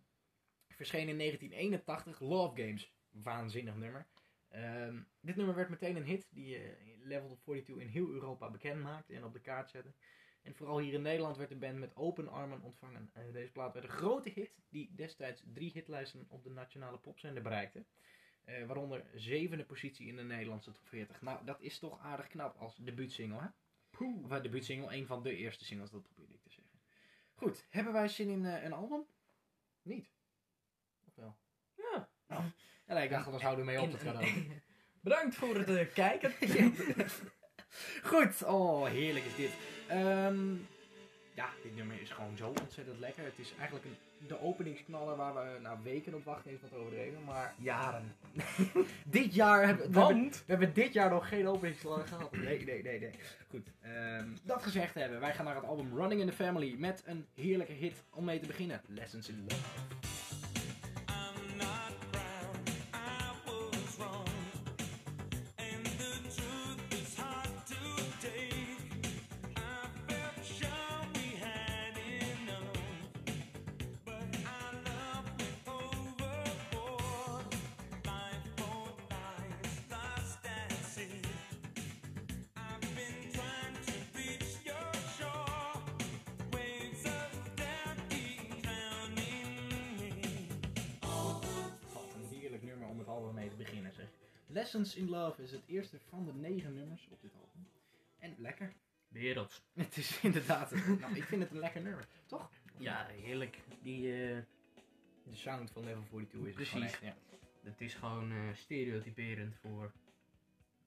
C: verscheen in 1981 Love Games. Waanzinnig nummer. Ehm, dit nummer werd meteen een hit die eh, Level 42 in heel Europa bekend maakte en op de kaart zette. En vooral hier in Nederland werd de band met open armen ontvangen. Eh, deze plaat werd een grote hit die destijds drie hitlijsten op de nationale popzender bereikte. Eh, waaronder zevende positie in de Nederlandse top 40. Nou, dat is toch aardig knap als debuutsingle, hè? Of eh, debuutsingle, een van de eerste singles, dat probeerde ik te zeggen. Goed, hebben wij zin in eh, een album? Niet. Of wel?
A: Ja.
C: Nou, ja, nee, ik dacht, anders houden we mee op.
A: En-
C: Dat
A: en-
C: gaat ook.
A: Bedankt voor het eh, kijken.
C: Goed, oh heerlijk is dit. Ehm, ja, dit nummer is gewoon zo ontzettend lekker. Het is eigenlijk een, de openingsknaller waar we na weken op wachten, is wat overdreven. Maar
A: Jaren.
C: dit jaar hebben we, hebben,
A: Want.
C: we hebben dit jaar nog geen openingsknaller gehad. Nee, nee, nee, nee. Goed, ehm, dat gezegd hebben, wij gaan naar het album Running in the Family met een heerlijke hit om mee te beginnen. Lessons in Love.
F: I'm not proud, I was wrong. And the truth is hard to take. I felt sure we had enough. But I love went overboard. Life for lies, lost at sea. I've been trying to reach your shore. Waves of doubt keep drowning me.
C: Wat een heerlijk nummer om het album mee te beginnen, zeg. Lessons in Love is het eerste van de negen nummers op dit album. En lekker.
A: Werelds.
C: Het is inderdaad. een- nou, ik vind het een lekker nummer, toch?
A: Ja, heerlijk. Die, eh,
C: De sound van Level 42 is
A: Precies.
C: gewoon echt, ja.
A: dat is gewoon eh, stereotyperend voor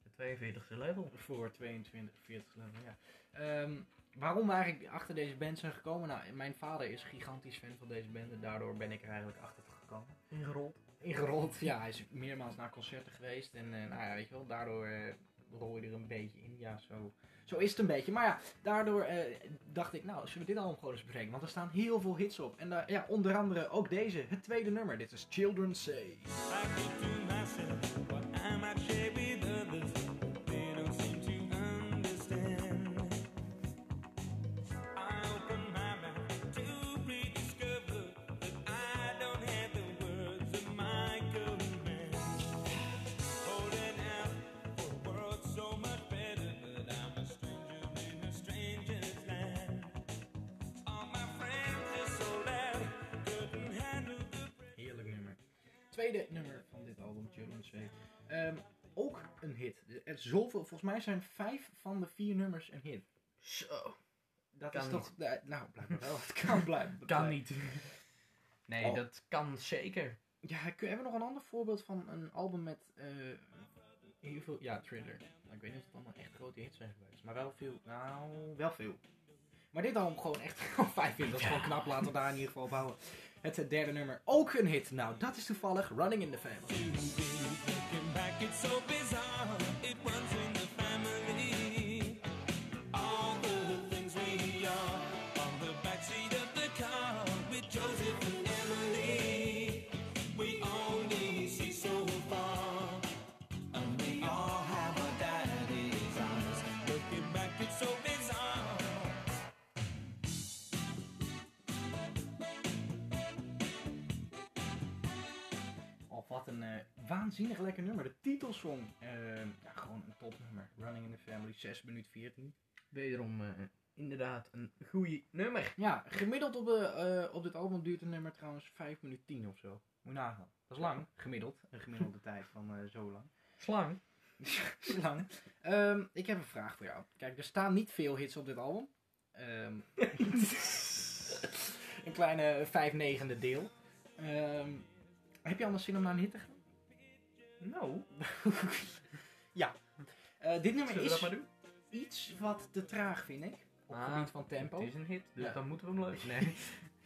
A: het 42e level.
C: Voor 22, 40 level, ja. Ehm, waarom we eigenlijk achter deze band zijn gekomen? Nou, mijn vader is gigantisch fan van deze band en daardoor ben ik er eigenlijk achter gekomen.
A: Ingerold.
C: Ingerold, ja. Hij is meermaals naar concerten geweest en eh, nou ja, weet je wel, daardoor eh, rol je er een beetje in. Ja, zo, zo is het een beetje. Maar ja, daardoor eh, dacht ik, nou, zullen we dit album gewoon eens bespreken? Want er staan heel veel hits op. En daar- ja, onder andere ook deze, het tweede nummer. Dit is Children Say.
F: I keep to myself what I might share with others. They don't seem to understand. I open my mouth to rediscover that I don't have the words of my command. Holding out for a world so much better, but I'm a stranger in a stranger's land. All my friends are so loud, couldn't handle the.
C: Heerlijk nummer. Tweede nummer van dit album, Children Say. Ehm, ook een hit. Er is zoveel, volgens mij zijn vijf van de vier nummers een hit.
A: Zo.
C: Dat
A: Kan
C: is toch. eh, nou, blijkbaar wel. Het kan blijven.
A: Kan niet. Nee,
C: Oh.
A: dat kan zeker. Ja, kun, hebben we nog een ander voorbeeld van een album met eh, heel veel... Ja, Thriller. Nou, ik weet niet of het allemaal echt grote hits zijn geweest. Maar wel veel. Nou, wel veel. Maar dit album gewoon echt gewoon fijn vind. Dat is gewoon knap. Laten we daar in ieder geval op houden. Het eh, derde nummer, ook een hit. Nou, dat is toevallig Running in the Family.
F: Looking back, it's so bizarre. It runs in the family. All the things we are on the backseat of the car with Joseph and Emily. We only see so far, and we all have our daddy's eyes. Looking back, it's so bizarre.
A: Of wat een eh, waanzinnig lekker nummer. De titelsong. eh, ja, gewoon een topnummer. Running in the Family, 6 minuut 14. Wederom eh, inderdaad een goeie nummer. Ja, gemiddeld op, de, eh, op dit album duurt een nummer trouwens 5 minuten 10 of zo. Moet je nagaan. Dat is lang, gemiddeld. Een gemiddelde tijd van eh, zo lang.
C: Slang.
A: Zo lang. Ehm, ik heb een vraag voor jou. Kijk, er staan niet veel hits op dit album. Ehm, een kleine vijf negende deel. Ehm, heb je anders zin om naar een hit te gaan?
C: Nou,
A: ja. Eh, dit nummer
C: zullen we dat
A: is
C: maar doen?
A: iets wat te traag, vind ik. Op het
C: Ah,
A: gebied van tempo.
C: Het is een hit, dus
A: Ja.
C: dan moeten we hem leuk. Nee,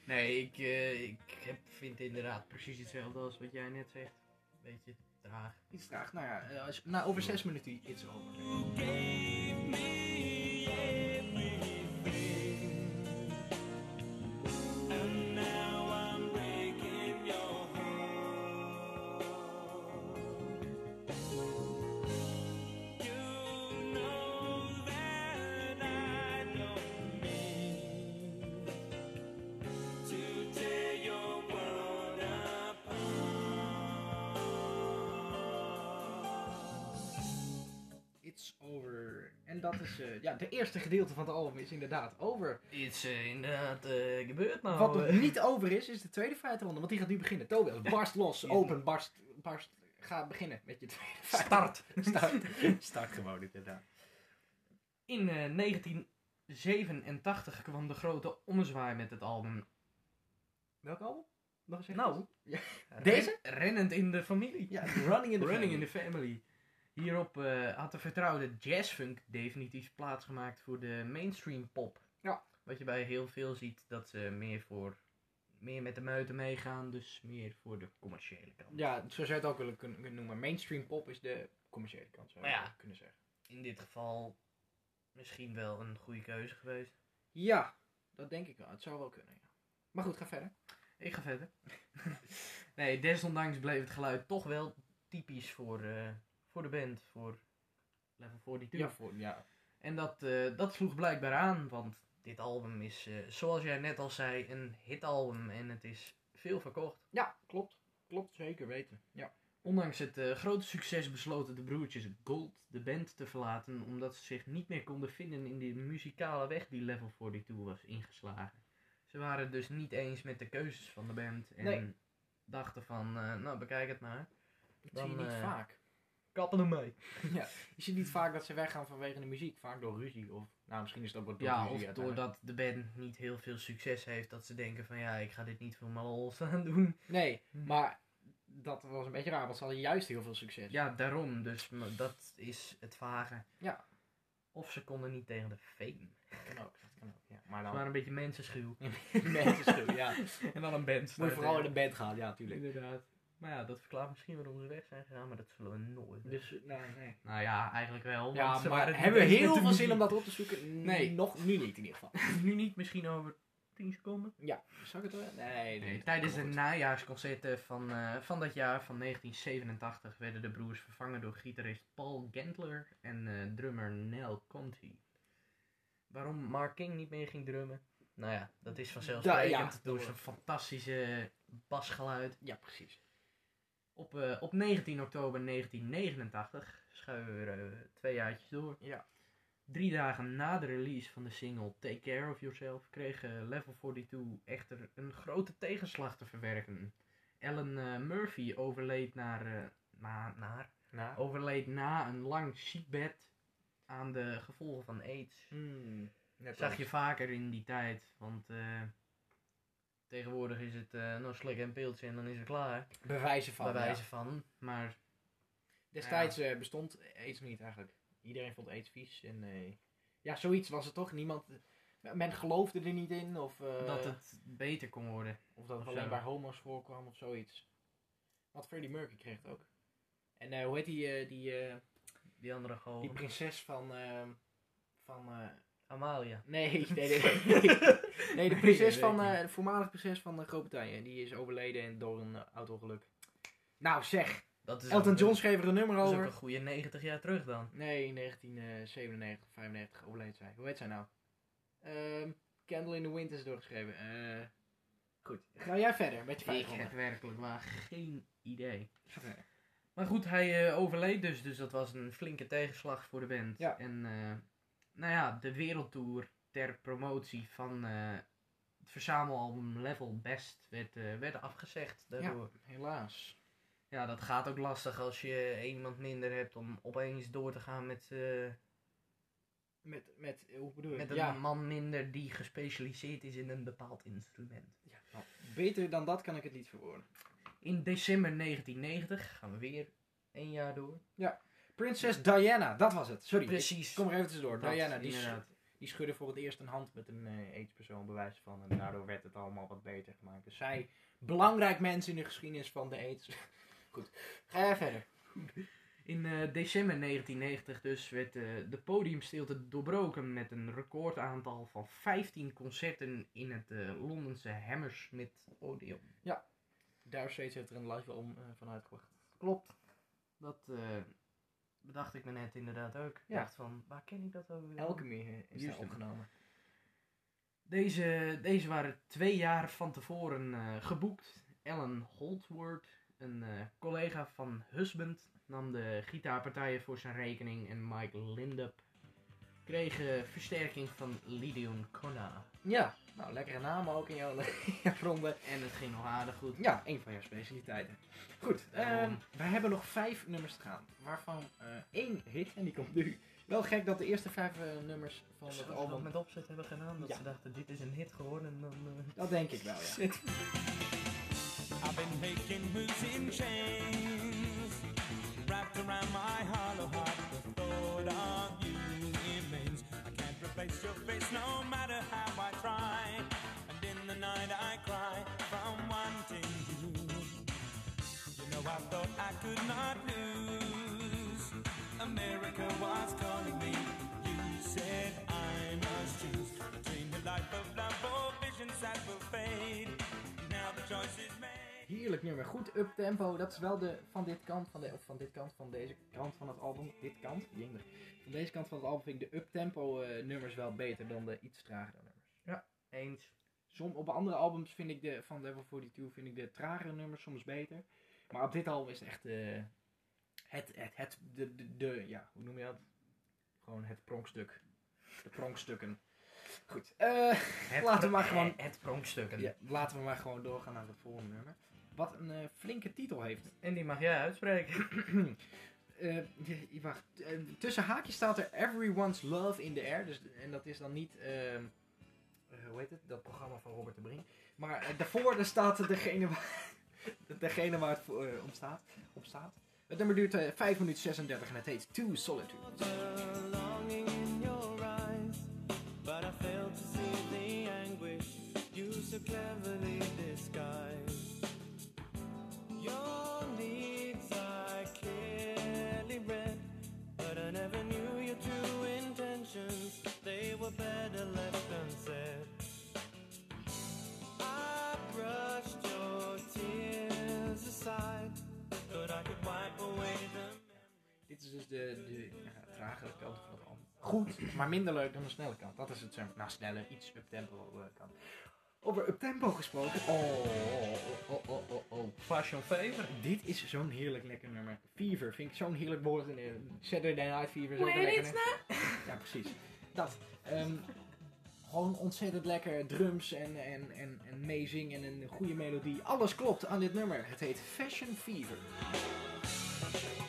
C: nee ik, eh, ik heb, vind inderdaad precies hetzelfde als wat jij net zegt. Beetje traag.
A: Iets traag. Nou ja, eh, als- nou, over zes minuten it's over.
F: Gave me everything, and now I'm breaking your heart. You know that I don't mean to tear your world apart.
A: It's over. En dat is, eh, ja, de eerste gedeelte van het album is inderdaad over.
C: Iets eh, inderdaad eh, gebeurd nou.
A: Wat
C: eh.
A: nog niet over is, is de tweede feitenronde. Want die gaat nu beginnen. Tobias, barst los. Open, barst, barst. Ga beginnen met je tweede
C: Start.
A: Start. Start gewoon, inderdaad.
C: In eh, 1987 kwam de grote omzwaai met het album.
A: Welk album? Nog eens even?
C: Nou,
A: Ja.
C: ren-
A: Deze?
C: Rennend in de familie.
A: Ja, Running in the
C: Running in
A: Family.
C: the Family. Hierop eh, had de vertrouwde jazzfunk definitief plaatsgemaakt voor de mainstream pop.
A: Ja.
C: Wat je bij heel veel ziet, dat ze meer, voor, meer met de meuten meegaan, dus meer voor de commerciële kant.
A: Ja, zo zou je het ook willen kun- kunnen noemen. Mainstream pop is de commerciële kant, zou je
C: Maar ja.
A: kunnen zeggen.
C: In dit geval misschien wel een goede keuze geweest.
A: Ja, dat denk ik wel. Het zou wel kunnen, ja. Maar goed, ga verder.
C: Ik ga verder. nee, desondanks bleef het geluid toch wel typisch voor, eh, voor de band, voor Level 42.
A: Ja, voor, ja.
C: En dat, eh, dat sloeg blijkbaar aan, want dit album is, eh, zoals jij net al zei, een hitalbum en het is veel verkocht.
A: ja, klopt. Klopt, zeker weten. Ja.
C: Ondanks het eh, grote succes besloten de broertjes Gold de band te verlaten, omdat ze zich niet meer konden vinden in de muzikale weg die Level 42 was ingeslagen. Ze waren dus niet eens met de keuzes van de band en
A: Nee.
C: dachten van, eh, nou bekijk het
A: Dat
C: maar, Dan,
A: zie je niet
C: eh,
A: vaak.
C: kappen ermee.
A: Je ziet niet vaak dat ze weggaan vanwege de muziek. Vaak door ruzie. Of, nou, misschien is dat wat door
C: Ja,
A: ruzie
C: of
A: uiteindelijk.
C: doordat de band niet heel veel succes heeft, dat ze denken van ja, ik ga dit niet voor mijn lol staan doen.
A: Nee,
C: Hm.
A: maar dat was een beetje raar, want ze hadden juist heel veel succes.
C: Ja, daarom. Dus m- dat is het vage.
A: Ja.
C: Of ze konden niet tegen de fame.
A: Dat kan ook. Dat kan ook ja. Maar
C: Ze
A: dan
C: waren een beetje mensenschuw.
A: mensen schuw, ja.
C: en dan een band.
A: Moet je vooral in de bed gaan, ja, tuurlijk.
C: Inderdaad. Maar ja, dat verklaart misschien waarom ze weg zijn gegaan, maar dat zullen we nooit. weten.
A: Dus, nou, nee.
C: Nou ja, eigenlijk wel.
A: Ja,
C: want ze
A: maar
C: waren het
A: hebben we
C: niet eens
A: heel
C: met
A: veel
C: de
A: zin om
C: muziek.
A: dat op te zoeken?
C: Nee.
A: Nog nu niet in ieder geval.
C: Nu niet, misschien over 10 seconden.
A: Ja. Zal ik het wel? Nee,
C: Nee, tijdens de
A: Goed.
C: najaarsconcerten van, eh, van dat jaar, van 1987, werden de broers vervangen door gitarist Paul Gentler en eh, drummer Nel Conti. Waarom Mark King niet meer ging drummen? Nou ja, dat is vanzelfsprekend
A: Ja, ja, dat
C: door
A: wordt-
C: zijn fantastische basgeluid.
A: Ja, precies.
C: Op, eh, op 19 oktober 1989 schuiven we er eh, twee jaartjes door.
A: Ja.
C: Drie dagen na de release van de single Take Care of Yourself kreeg eh, Level 42 echter een grote tegenslag te verwerken. Ellen eh, Murphy overleed, naar, eh, na, naar,
A: Nou.
C: overleed na een lang ziekbed aan de gevolgen van AIDS.
A: Hmm, net
C: Zag
A: als-
C: je vaker in die tijd, want eh, Tegenwoordig is het eh nog slikken en piltje en dan is het klaar.
A: Bewijzen van.
C: bij
A: ja.
C: wijze van. Maar
A: Destijds eh, bestond aids nog niet eigenlijk. Iedereen vond aids vies. En, eh, ja, zoiets was het toch. Niemand, men geloofde er niet in. Of, eh,
C: dat het beter kon worden.
A: of dat het
C: of
A: alleen
C: zo.
A: bij homo's voorkwam of zoiets. Want Freddie Mercury kreeg het ook. En eh, hoe heet die, eh, die, eh,
C: Die andere goal.
A: die prinses van... eh, van eh,
C: Amalia.
A: nee, nee, nee, nee. Nee, de prinses
C: Nee,
A: van,
C: weet ik
A: eh, de voormalige prinses van eh, Groot-Brittannië. Die is overleden en door een eh, auto-ongeluk. Nou zeg,
C: Dat is
A: Elton
C: ook-
A: John schreef er een nummer
C: Dat is
A: over.
C: ook een goede 90 jaar terug dan.
A: Nee, 1997, 95 overleed zij. Hoe heet zij nou? Ehm Candle in the Wind is doorgeschreven. Eh, goed, ga jij verder met je
C: Ik
A: vijf
C: heb
A: ronden.
C: werkelijk waar geen idee.
A: Ga verder.
C: Maar goed, hij eh, overleed dus, dus dat was een flinke tegenslag voor de band.
A: Ja.
C: En eh, nou ja, de wereldtour ter promotie van eh, het verzamelalbum Level Best werd, eh, werd afgezegd daardoor. Ja.
A: Helaas.
C: dat gaat ook lastig als je één iemand minder hebt om opeens door te gaan met, eh,
A: Met, met, hoe bedoel je?
C: met een
A: ja,
C: man minder die gespecialiseerd is in een bepaald instrument.
A: ja, nou, beter dan dat kan ik het niet verwoorden.
C: In december 1990 gaan we weer één jaar door.
A: Prinses Diana, dat was het. Sorry, ik
C: Precies.
A: kom er even tussendoor.
C: Dat,
A: Diana, die,
C: inderdaad.
A: die schudde voor het eerst een hand met een eh aidspersoon bewijs van. En daardoor werd het allemaal wat beter gemaakt. Dus zij, belangrijk mens in de geschiedenis van de aids. Goed, ga jij verder.
C: In eh, december 1990 dus werd eh, de podiumstilte doorbroken met een recordaantal van 15 concerten in het eh, Londense Hammersmith Odeon.
A: Daar steeds heeft er een live om eh, van uitgebracht.
C: Klopt. Dat eh, bedacht ik me net inderdaad ook. Ik
A: Ja.
C: dacht van, waar ken ik dat ook weer?
A: Elke meer eh, is daar
C: Houston.
A: opgenomen.
C: Deze, deze waren twee jaar van tevoren eh, geboekt. Ellen Holdsworth, een eh, collega van Husband, nam de gitaarpartijen voor zijn rekening en Mike Lindup kreeg eh, versterking van Lidion Konna.
A: Ja, nou lekkere namen ook in jouw, in jouw ronde.
C: En het ging nog aardig goed.
A: Ja, één van jouw specialiteiten. Goed, ehm, wij hebben nog vijf nummers te gaan. Waarvan eh, één hit, en die komt nu. Wel gek dat de eerste vijf eh, nummers van
C: Als
A: het
C: we dat
A: album...
C: met opzet hebben gedaan, dat
A: Ja.
C: ze dachten dit is een hit geworden, dan... eh,
A: Dat denk ik wel, ja.
F: I've been making moves in chains, wrapped around my hollow heart. The thought of you remains. I can't replace your face, no matter how I try. And in the night I cry from wanting you. You know I thought I could not lose. America was calling me. You said I must choose between the life of love or visions that will fade. Now the choice is made.
A: Heerlijk nummer, goed up tempo. Dat is wel de van dit kant van, de, of van dit kant van deze kant van het album. Dit kant, jinder. Van deze kant van het album vind ik de up tempo eh, nummers wel beter dan de iets tragere nummers.
C: Eens.
A: Som, op andere albums vind ik de, van Level 42 vind ik de tragere nummers soms beter. Maar op dit album is het echt eh, het, het, het de, de, de, ja, hoe noem je dat? Gewoon het pronkstuk. De pronkstukken. Goed, eh, Laten we maar gewoon-
C: Het pronkstuk.
A: ja, laten we maar gewoon doorgaan naar het volgende nummer. Wat een eh, flinke titel heeft.
C: En die mag jij uitspreken.
A: Eh, je- wacht, eh, tussen haakjes staat er Everyone's Love in the Air. Dus, en dat is dan niet, ehm, eh, hoe heet het, dat programma van Robert de Brink. Maar eh, daarvoor daar staat degene waar, degene waar het voor, eh, om, staat, op staat. Het nummer duurt eh, 5 minuten 36 en het heet Two Solitude.
F: The longing in your eyes, but I failed to see the anguish you so cleverly disguise. Your needs I clearly read, but I never knew your true intentions. They were better left unsaid. I brushed your tears aside, thought I could wipe away them.
A: Dit is dus de, de ja, tragere kant van het album. Goed, maar minder leuk dan de snelle kant. Dat is het, zeg maar, nou sneller, iets uptempo eh, kant. Over uptempo gesproken. Oh, oh, oh, oh, oh.
C: Fashion Favor.
A: Dit is zo'n heerlijk lekker nummer. Fever vind ik zo'n heerlijk woord. En, eh, Saturday Night Fever is ook een lekker nummer. Ja, precies. Dat. Ehm, gewoon ontzettend lekker drums en, en, en, en meezing en een goede melodie. Alles klopt aan dit nummer. Het heet Fashion Fever.
F: Fashion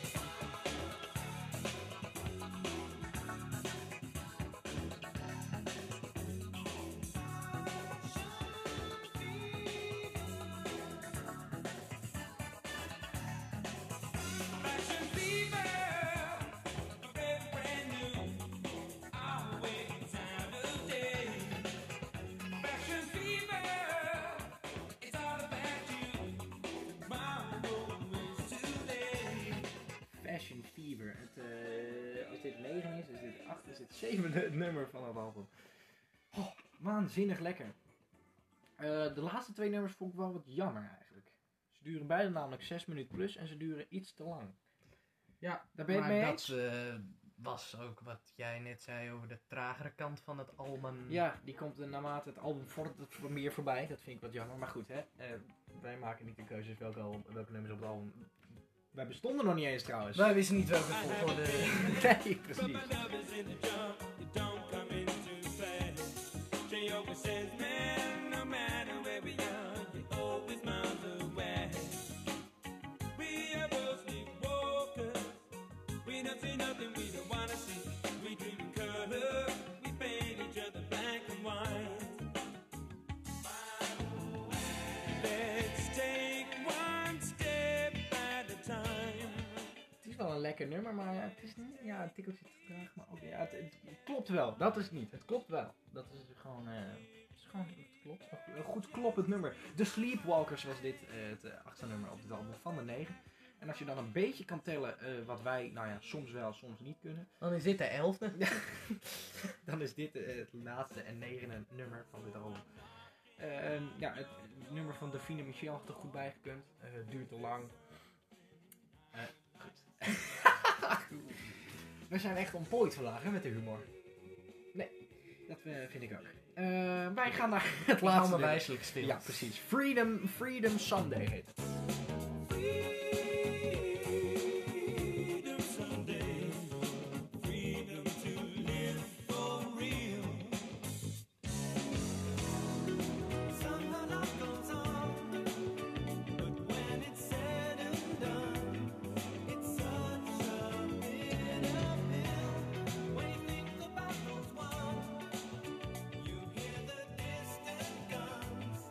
A: eh, dit 9 is, is dit 8, is dit 7 nummer van het album. Oh, waanzinnig lekker. Eh, de laatste twee nummers vond ik wel wat jammer eigenlijk. Ze duren beide namelijk 6 minuten plus en ze duren iets te lang. Ja, daar ben je het
C: maar
A: mee
C: dat
A: eens?
C: eh, was ook wat jij net zei over de tragere kant van het album.
A: Ja, die komt eh, naarmate het album vordert wat meer voorbij. Dat vind ik wat jammer, maar goed hè. Eh, wij maken niet de keuzes welke, album- welke nummers op het album... Wij bestonden nog niet eens trouwens.
C: Wij wisten niet welke volgorde.
A: Nee, precies.
F: My love is in the jump, you don't come in too fast. She always says, man, no matter where we are, you always miles away. We are mostly walkers. We don't see nothing we don't wanna see. We dream in color, we paint each other black and white. Let's take one step at a time.
A: Het is wel een lekker nummer, maar het is niet. Ja, een tikkeltje te traag, maar ook. Ja, het, het- het klopt wel. Dat is het niet. Het klopt wel. Dat is gewoon. eh, het is gewoon. Het klopt. Een goed kloppend nummer. De Sleepwalkers was dit, eh, het eh, achtste nummer op dit album van de negen. En als je dan een beetje kan tellen eh, wat wij, nou ja, soms wel, soms niet kunnen.
C: Dan is dit de elfde.
A: Ja, dan is dit eh, het laatste en negende nummer van dit album. Eh, en ja, het nummer van Davina Michel had er goed bij gekund. Eh, het duurt te lang. Eh, goed. we zijn echt ontplooid vandaag hè, met de humor. Nee, dat eh, vind ik ook. Eh, wij gaan naar het laatste
C: Laatste
A: nummer.
C: wijselijk stil.
A: Ja, precies. Freedom, Freedom Sunday heet het.
F: Freedom someday, freedom to live for real. Somehow life goes on, but when it's said and done, it's such a bitter pill. When you think the battle's won, you hear the distant guns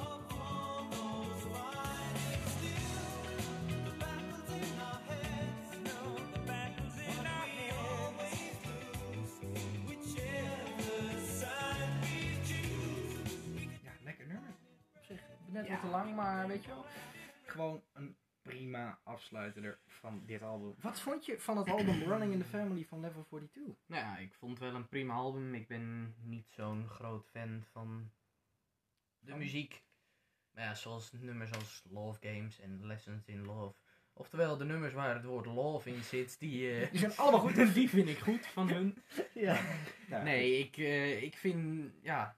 F: of all those fighting still. The battle's in our heads, no, the battle's in our heads. always lose, whichever side we choose.
A: Ja, lekker nummer. Op zich, net wat te lang, maar weet je wel. Gewoon een prima afsluiter van dit album. Wat vond je van het album Running in the Family van Level 42?
C: Nou ja, ik vond het wel een prima album. Ik ben niet zo'n groot fan van de muziek. Maar ja, zoals nummers als Love Games en Lessons in Love. Oftewel, de nummers waar het woord love in zit, die, eh,
A: Die zijn allemaal goed en
C: die vind ik goed van hun.
A: Ja. Nou,
C: Nee, ik, eh, ik vind, ja...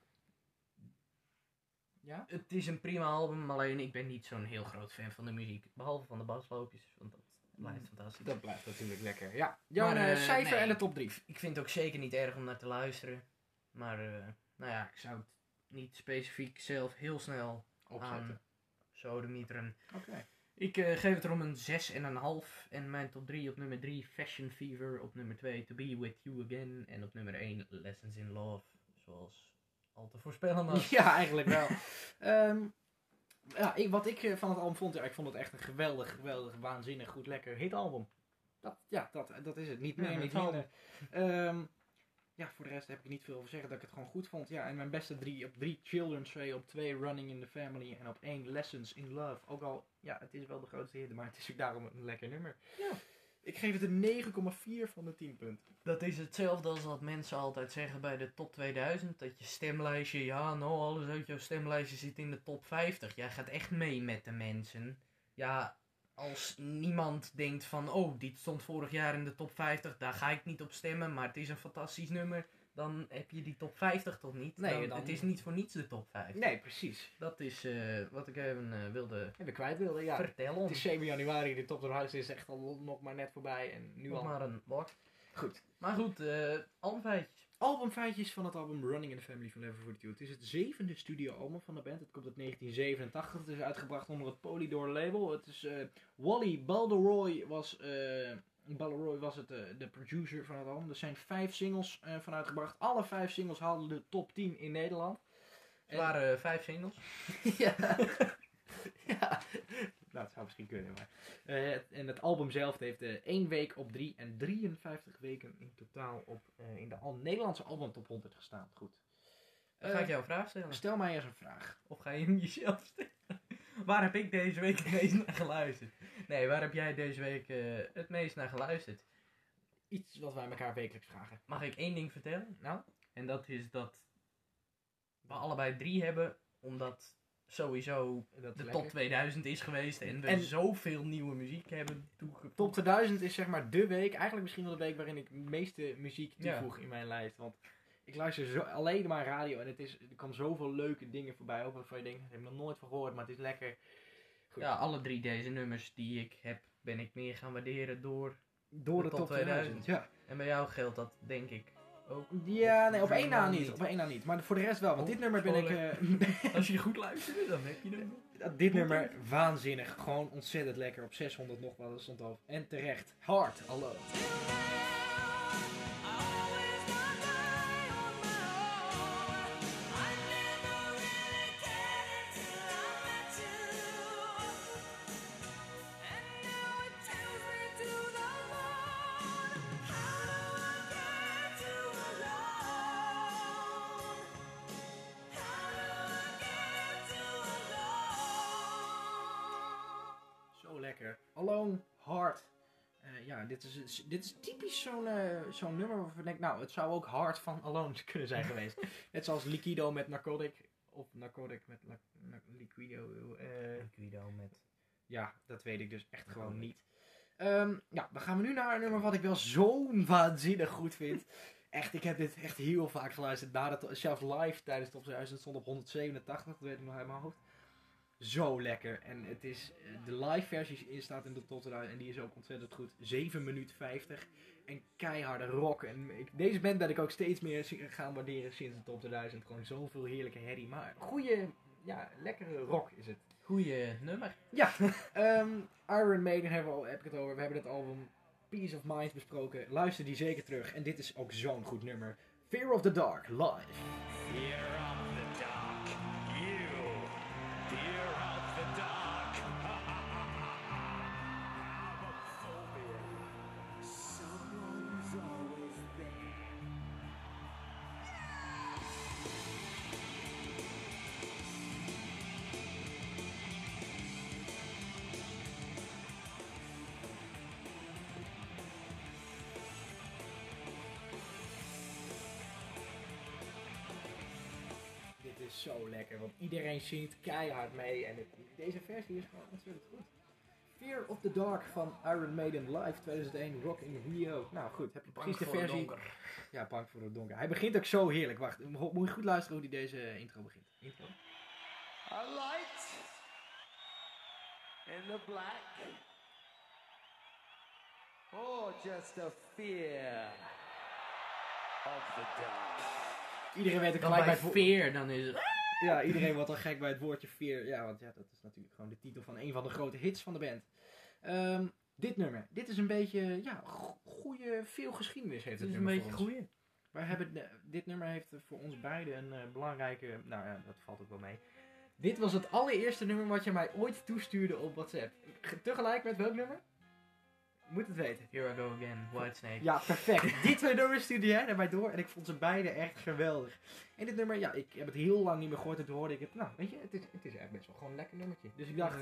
A: Ja?
C: Het is een prima album, alleen ik ben niet zo'n heel groot fan van de muziek. Behalve van de basloopjes, want dat blijft fantastisch.
A: Nou, Dat blijft natuurlijk lekker. Ja. Jouw
C: Maar,
A: eh,
C: eh,
A: cijfer
C: nee.
A: en de top 3.
C: Ik vind het ook zeker niet erg om naar te luisteren. Maar, eh, nou ja, ik zou het niet specifiek zelf heel snel aan
A: Opzetten.
C: sodemieteren.
A: Ah, Oké.
C: Ik eh, geef het erom een 6,5. En mijn top 3 op nummer 3, Fashion Fever. Op nummer 2, To Be With You Again. En op nummer 1, Lessons in Love. Zoals al te voorspellen was.
A: Ja, eigenlijk wel. Ehm, ja, ik, wat ik eh, van het album vond, ja, ik vond het echt een geweldig, geweldig, waanzinnig, goed, lekker hitalbum. Dat, ja, dat, dat is het. Niet
C: Ja,
A: meer, niet
C: hitalbum.
A: minder. Ehm, ja, voor de rest heb ik niet veel over zeggen dat ik het gewoon goed vond. Ja, en mijn beste drie op drie Children's Day, op twee Running in the Family en op één Lessons in Love. Ook al, ja, het is wel de grootste hit, maar het is ook daarom een lekker nummer.
C: Ja.
A: Ik geef het een 9,4 van de 10 punten.
C: Dat is hetzelfde als wat mensen altijd zeggen bij de top 2000. Dat je stemlijstje, ja, nou, alles uit jouw stemlijstje zit in de top 50. Jij gaat echt mee met de mensen. Ja, als niemand denkt van, oh, dit stond vorig jaar in de top 50, daar ga ik niet op stemmen, maar het is een fantastisch nummer. Dan heb je die top 50 toch niet?
A: Nee,
C: Dan-
A: dan-
C: het is niet voor niets de top 50.
A: Nee, precies.
C: Dat is eh, wat ik even eh, wilde
A: Heb ik kwijt wilde, ja.
C: vertellen.
A: Het is 7 januari, de top door huis is echt al nog maar net voorbij en nu
C: Nog
A: al.
C: maar een blok.
A: Goed.
C: Maar goed, eh alle feitjes.
A: Albumfeitjes van het album Running in the Family van Level 42. Het is het zevende studioalbum van de band. Het komt uit 1987. Het is uitgebracht onder het Polydor label. Het is eh, Wally Balderoy was, eh Balderoy was het, eh, de producer van het album. Er zijn vijf singles eh, van uitgebracht. Alle vijf singles haalden de top 10 in Nederland.
C: Er waren eh, vijf singles.
A: Ja. ja. Nou, het zou misschien kunnen, maar. Eh, en het album zelf heeft eh 1 week op 3 en 53 weken in totaal op, eh, in de al Nederlandse album top 100 gestaan. Goed.
C: Dan ga ik
A: Eh,
C: jou een vraag stellen.
A: Stel mij eens een vraag.
C: Of ga je hem jezelf stellen? waar heb ik deze week het meest naar geluisterd? Nee, waar heb jij deze week eh, het meest naar geluisterd?
A: Iets wat wij elkaar wekelijks vragen.
C: Mag ik één ding vertellen?
A: Nou?
C: En dat is dat we allebei drie hebben, omdat sowieso
A: Dat
C: de
A: is
C: top
A: lekker.
C: 2000 is geweest en we
A: En-
C: zoveel nieuwe muziek hebben
A: Top
C: toegevoegd.
A: 2000 is zeg maar de week, eigenlijk misschien wel de week waarin ik de meeste muziek
C: Ja.
A: toevoeg in mijn lijst. Want ik luister zo, alleen maar radio en het is, er komen zoveel leuke dingen voorbij. Ook waarvan je denkt, daar heb ik nog nooit van gehoord, maar het is lekker. Goed.
C: Ja, alle drie deze nummers die ik heb, ben ik meer gaan waarderen door.
A: Door de,
C: De
A: top
C: top
A: 2000. Ja,
C: En bij jou geldt dat denk ik ook.
A: ja
C: Of
A: nee, op één na
C: helemaal
A: niet.
C: niet.
A: Op één na niet. Maar voor de rest wel, want dit
C: Oh,
A: nummer ben ik... eh,
C: Als je goed luistert, dan heb je hem.
A: Dat- Dit nummer, waanzinnig. Gewoon ontzettend lekker. Op 600 nog wel, dat stond al. En terecht. Hard, hallo. Zo lekker. Alone, hard. Eh, ja, dit is, dit is typisch zo'n eh, zo'n nummer waarvan ik denk, nou, het zou ook hard van Alone kunnen zijn geweest. Net zoals Liquido met Narcotic. Of Narcotic met la- na- Liquido. eh,
C: Guido met.
A: ja, dat weet ik dus echt gewoon niet. Ehm, ja, dan gaan we nu naar een nummer wat ik wel zo waanzinnig goed vind. Echt, ik heb dit echt heel vaak geluisterd. Nadat, zelfs live tijdens Top 2000 stond op 187, dat weet ik nog uit mijn hoofd. Zo lekker. En het is, eh, de live versie in staat in de Top 2000 en die is ook ontzettend goed. 7 minuten 50 en keiharde rock. En ik- deze band ben ik ook steeds meer si- gaan waarderen sinds de Top 2000. Gewoon zoveel heerlijke herrie. Maar goede, ja, lekkere rock is het.
C: Goeie nummer.
A: Ja, ehm, Iron Maiden hebben we al, heb ik het over. We hebben het album Peace of Mind besproken. Luister die zeker terug. En dit is ook zo'n goed nummer. Fear of the Dark, live.
F: Fear of the dark, you. Fear of the dark. Phobia. Someone's always there.
A: Dit is zo lekker, want iedereen zingt keihard mee. En het- deze versie is gewoon ontzettend goed. Fear of the Dark van Iron Maiden live 2001 Rock in Rio. Nou goed, heb je precies de versie. Ja, Bang voor het donker. Hij begint ook zo heerlijk. Wacht, mo- moet je goed luisteren hoe hij deze eh, intro begint. Intro.
E: A light in the black, or Oh, just a fear of the dark.
A: Iedereen weet ook
C: Dan
A: gelijk bij
C: bij
A: het wo-
C: Veer, dan is het.
A: Ja, iedereen wordt al gek bij het woordje Fear. Ja, want ja, dat is natuurlijk gewoon de titel van een van de grote hits van de band. Ehm, dit nummer. Dit is een beetje, ja, go- goede, veel geschiedenis heeft het,
C: Het is een
A: nummer
C: beetje
A: voor ons.
C: goeie.
A: Wij hebben, de- dit nummer heeft voor ons beiden een eh, belangrijke, nou ja, dat valt ook wel mee. Dit was het allereerste nummer wat je mij ooit toestuurde op WhatsApp. Ge- Tegelijk met welk nummer? Moet het weten.
C: Here I go again, Whitesnake.
A: Ja, perfect. Die twee nummers stuurde jij naar mij door en ik vond ze beide echt geweldig. En dit nummer, ja, ik heb het heel lang niet meer gehoord en toen hoorde ik het. Nou, weet je, het is, het is echt best wel gewoon een lekker nummertje. Dus ik dacht,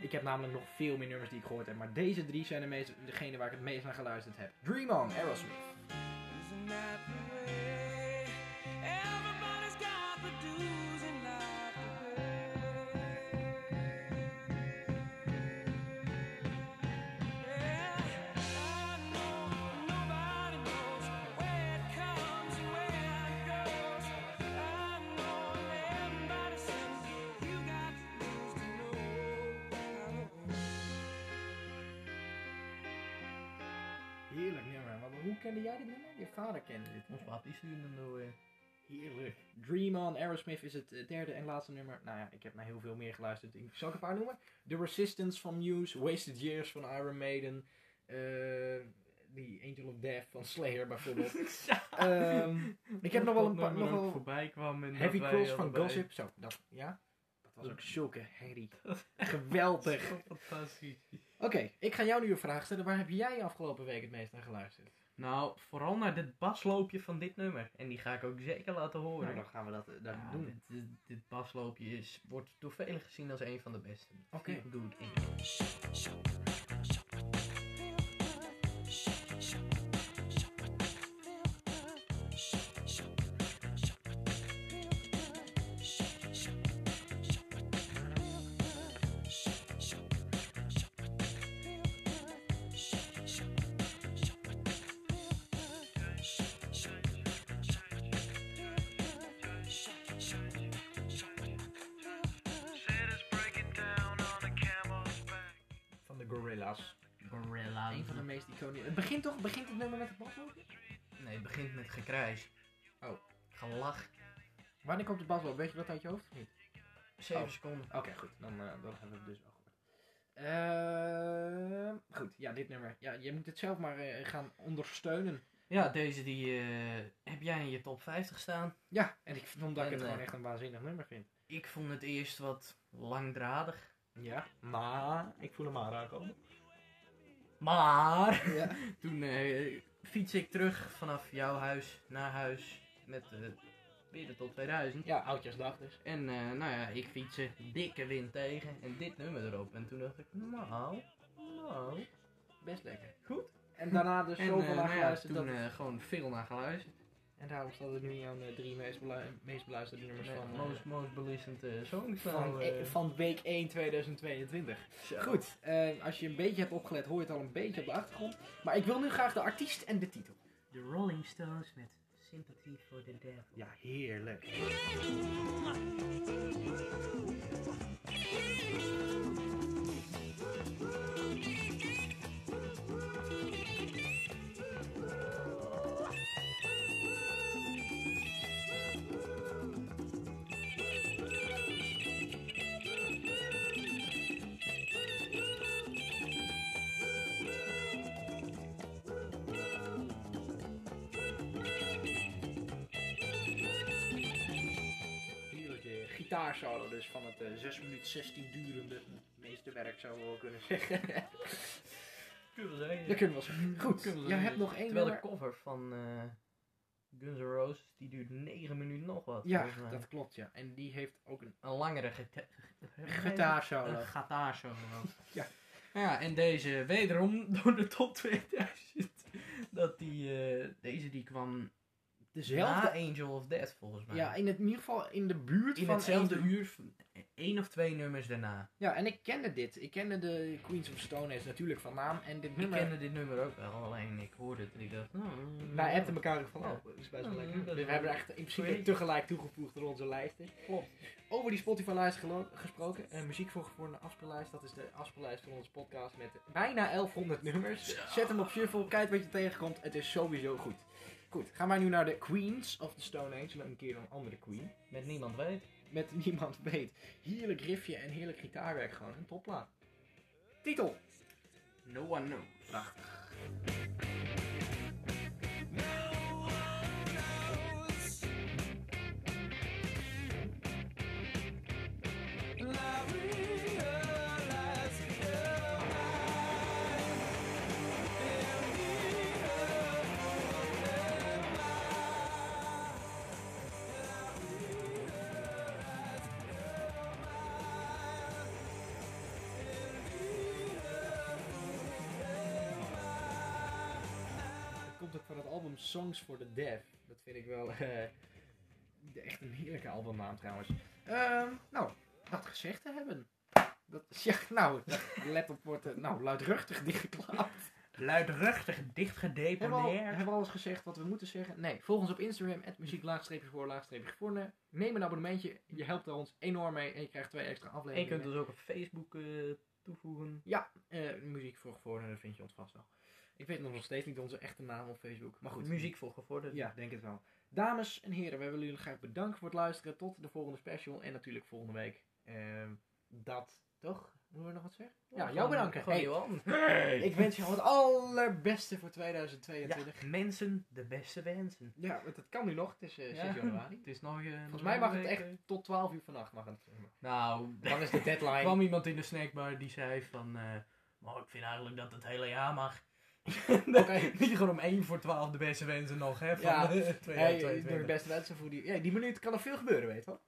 A: ik heb namelijk nog veel meer nummers die ik gehoord heb, maar deze drie zijn de meest, degene waar ik het meest naar geluisterd heb. Dream On, Aerosmith.
F: Isn't that the way? Everybody's got the dues in life to pay. Yeah, I know nobody knows where it comes and where it goes. I know that everybody says you got dues to know.
A: Heerlijk nummer. Maar hoe kende jij dit nummer? Je vader kende dit.
C: Ons wat is nu dan E. door.
A: Heerlijk. Dream On, Aerosmith is het eh, derde en laatste nummer. Nou ja, ik heb naar heel veel meer geluisterd. Ik zal ik een paar noemen. The Resistance van Muse, Wasted Years van Iron Maiden, eh, die Angel of Death van Slayer bijvoorbeeld. Ehm, ik heb nog wel een paar... Nog wel
C: voorbij kwam en
A: Heavy Cross van Gossip. Zo, dat, ja. Dat was ook zulke herrie. Geweldig.
C: Fantastisch.
A: Oké, ik ga jou nu een vraag stellen. Waar heb jij afgelopen week het meest naar geluisterd?
C: Nou, vooral naar dit basloopje van dit nummer. En die ga ik ook zeker laten horen.
A: Nou, dan gaan we dat, eh, dat
C: Ja,
A: doen.
C: dit, dit, dit basloopje is, wordt door velen gezien als een van de beste.
A: Oké.
C: Feel Good in.
A: Gorillas.
C: Gorilla.
A: Een van de meest iconische. Het begint toch? Begint het nummer met het basloopje?
C: Nee, het begint met gekrijs.
A: Oh.
C: Gelach.
A: Wanneer komt de basloop? Weet je dat uit je hoofd of niet?
C: 7
A: Oh.
C: seconden.
A: Oké, goed. Dan, eh, dan hebben we het dus al gehoord. Ehm, goed, ja, dit nummer. Ja, je moet het zelf maar eh, gaan ondersteunen.
C: Ja, deze die eh, heb jij in je top 50 staan.
A: Ja, en ik vind omdat ik
C: En,
A: het gewoon
C: eh,
A: echt een waanzinnig nummer vind.
C: Ik vond het eerst wat langdradig.
A: Ja, maar ik voel hem aanraken.
C: Maar
A: Ja.
C: toen eh, fiets ik terug vanaf jouw huis naar huis met eh, weer de top 2000.
A: Ja, oudjesdag dus.
C: En eh, nou ja, ik fietsen dikke wind tegen en dit nummer erop. En toen dacht ik, nou, nou.
A: Best lekker.
C: Goed.
A: En daarna dus
C: En
A: zoveel
C: eh,
A: aan
C: nou ja,
A: geluisterd
C: toen
A: dat...
C: eh, gewoon veel naar geluisterd.
A: En daarom staat het nu aan de drie meest, belu- meest beluisterde nummers
C: Met
A: van, eh,
C: most, most beluisterd eh, songs
A: van,
C: nou, eh.
A: eh, van week 1 2022.
C: Zo.
A: Goed, eh, als je een beetje hebt opgelet hoor je het al een beetje op de achtergrond. Maar ik wil nu graag de artiest en de titel.
C: De Rolling Stones met Sympathy for the Devil.
A: Ja, heerlijk. Heerlijke gitaarsolo dus van het eh 6 minuten 16 durende meesterwerk zouden we wel kunnen zeggen.
C: Kunnen
A: Dat kunnen we wel zeggen. Goed, jij hebt nog één
C: Terwijl
A: nummer.
C: de cover van eh, Guns N' Roses, die duurt 9 minuten nog wat. volgens
A: Ja,
C: mij.
A: dat klopt ja. En die heeft ook een
C: Een langere gita-
A: gitaarsolo.
C: Een gitaarsolo.
A: Ja.
C: Nou Ja, en deze wederom door de top 2000. Dat die, eh, deze die kwam
A: Dezelfde.
C: na Angel of Death volgens mij.
A: Ja, in, het, in ieder geval in de buurt
C: in
A: van
C: hetzelfde
A: één-
C: uur, van- één of twee nummers daarna.
A: Ja, en ik kende dit. Ik kende de Queens of Stone Age natuurlijk van naam. En dit
C: Ik
A: nummer...
C: kende dit nummer ook wel, alleen ik hoorde het en ik dacht... nou,
A: Wij appten elkaar ook van,
C: Ja.
A: oh, dat is best wel
C: Ja,
A: lekker.
C: dat
A: Dus
C: is
A: we hebben echt in principe
C: Goeie.
A: tegelijk toegevoegd door onze lijsten.
C: Klopt.
A: Over die Spotify-lijst gelo- gesproken. eh, muziek voor gevormde afspeellijst. Dat is de afspeellijst van onze podcast met bijna 1100 nummers. Zet hem op shuffle, kijk wat je tegenkomt. Het is sowieso goed. Goed, gaan wij nu naar de Queens of the Stone Age. En een keer een andere Queen.
C: Met niemand weet.
A: Met niemand weet. Heerlijk riffje en heerlijk gitaarwerk gewoon. Een topplaat. Titel.
C: No one knows.
A: Het komt ook van het album Songs for the Deaf. Dat vind ik wel eh, echt een heerlijke albumnaam trouwens. Ehm, nou, dat gezegd te hebben. Dat is, ja, nou, let op wordt eh, nou, luidruchtig dichtgeklapt.
C: Luidruchtig dicht
A: Hebben we, al,
C: gedeponeerd.
A: hebben we alles gezegd wat we moeten zeggen? Nee, volg ons op Instagram, muziek voor, Neem een abonnementje, je helpt er ons enorm mee en je krijgt twee extra
C: En je
A: afleveringen.
C: kunt ons ook op Facebook eh, toevoegen.
A: Eh, muziek voor gevorderden vind je ons vast wel. Ik weet nog steeds niet onze echte naam op Facebook, maar goed.
C: Muziek voor gevorderd.
A: Ja, denk het wel. Dames en heren, wij willen jullie graag bedanken voor het luisteren. Tot de volgende special en natuurlijk volgende week. Ehm, dat, toch? Moeten we nog wat zeggen? Ja, jou bedanken.
C: Oh, Gewoon
A: Hey,
C: Johan.
A: ik wens jou het allerbeste voor 2022.
C: Ja, mensen, de beste wensen.
A: Ja, want het kan nu nog. Het is eh, 6
C: Ja.
A: januari.
C: Het is nog... eh, nog
A: Volgens mij mag
C: een
A: het
C: week,
A: echt
C: eh.
A: tot 12 uur vannacht. Mag het.
C: Nou, er
A: Dan is de deadline.
C: kwam iemand in de snackbar die zei van... eh, maar ik vind eigenlijk dat het hele jaar mag.
A: Oké.
C: Dat je gewoon om 1 voor 12 de beste wensen nog, hè? Van
A: Ja.
C: eh, ja. 2022.
A: Hey, ik doe de beste wensen voor die... Ja, die minuut kan er veel gebeuren, weet je wel.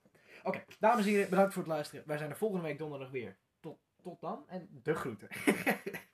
A: Oké, dames en heren, bedankt voor het luisteren. Wij zijn er volgende week donderdag weer. Tot, tot dan en de groeten.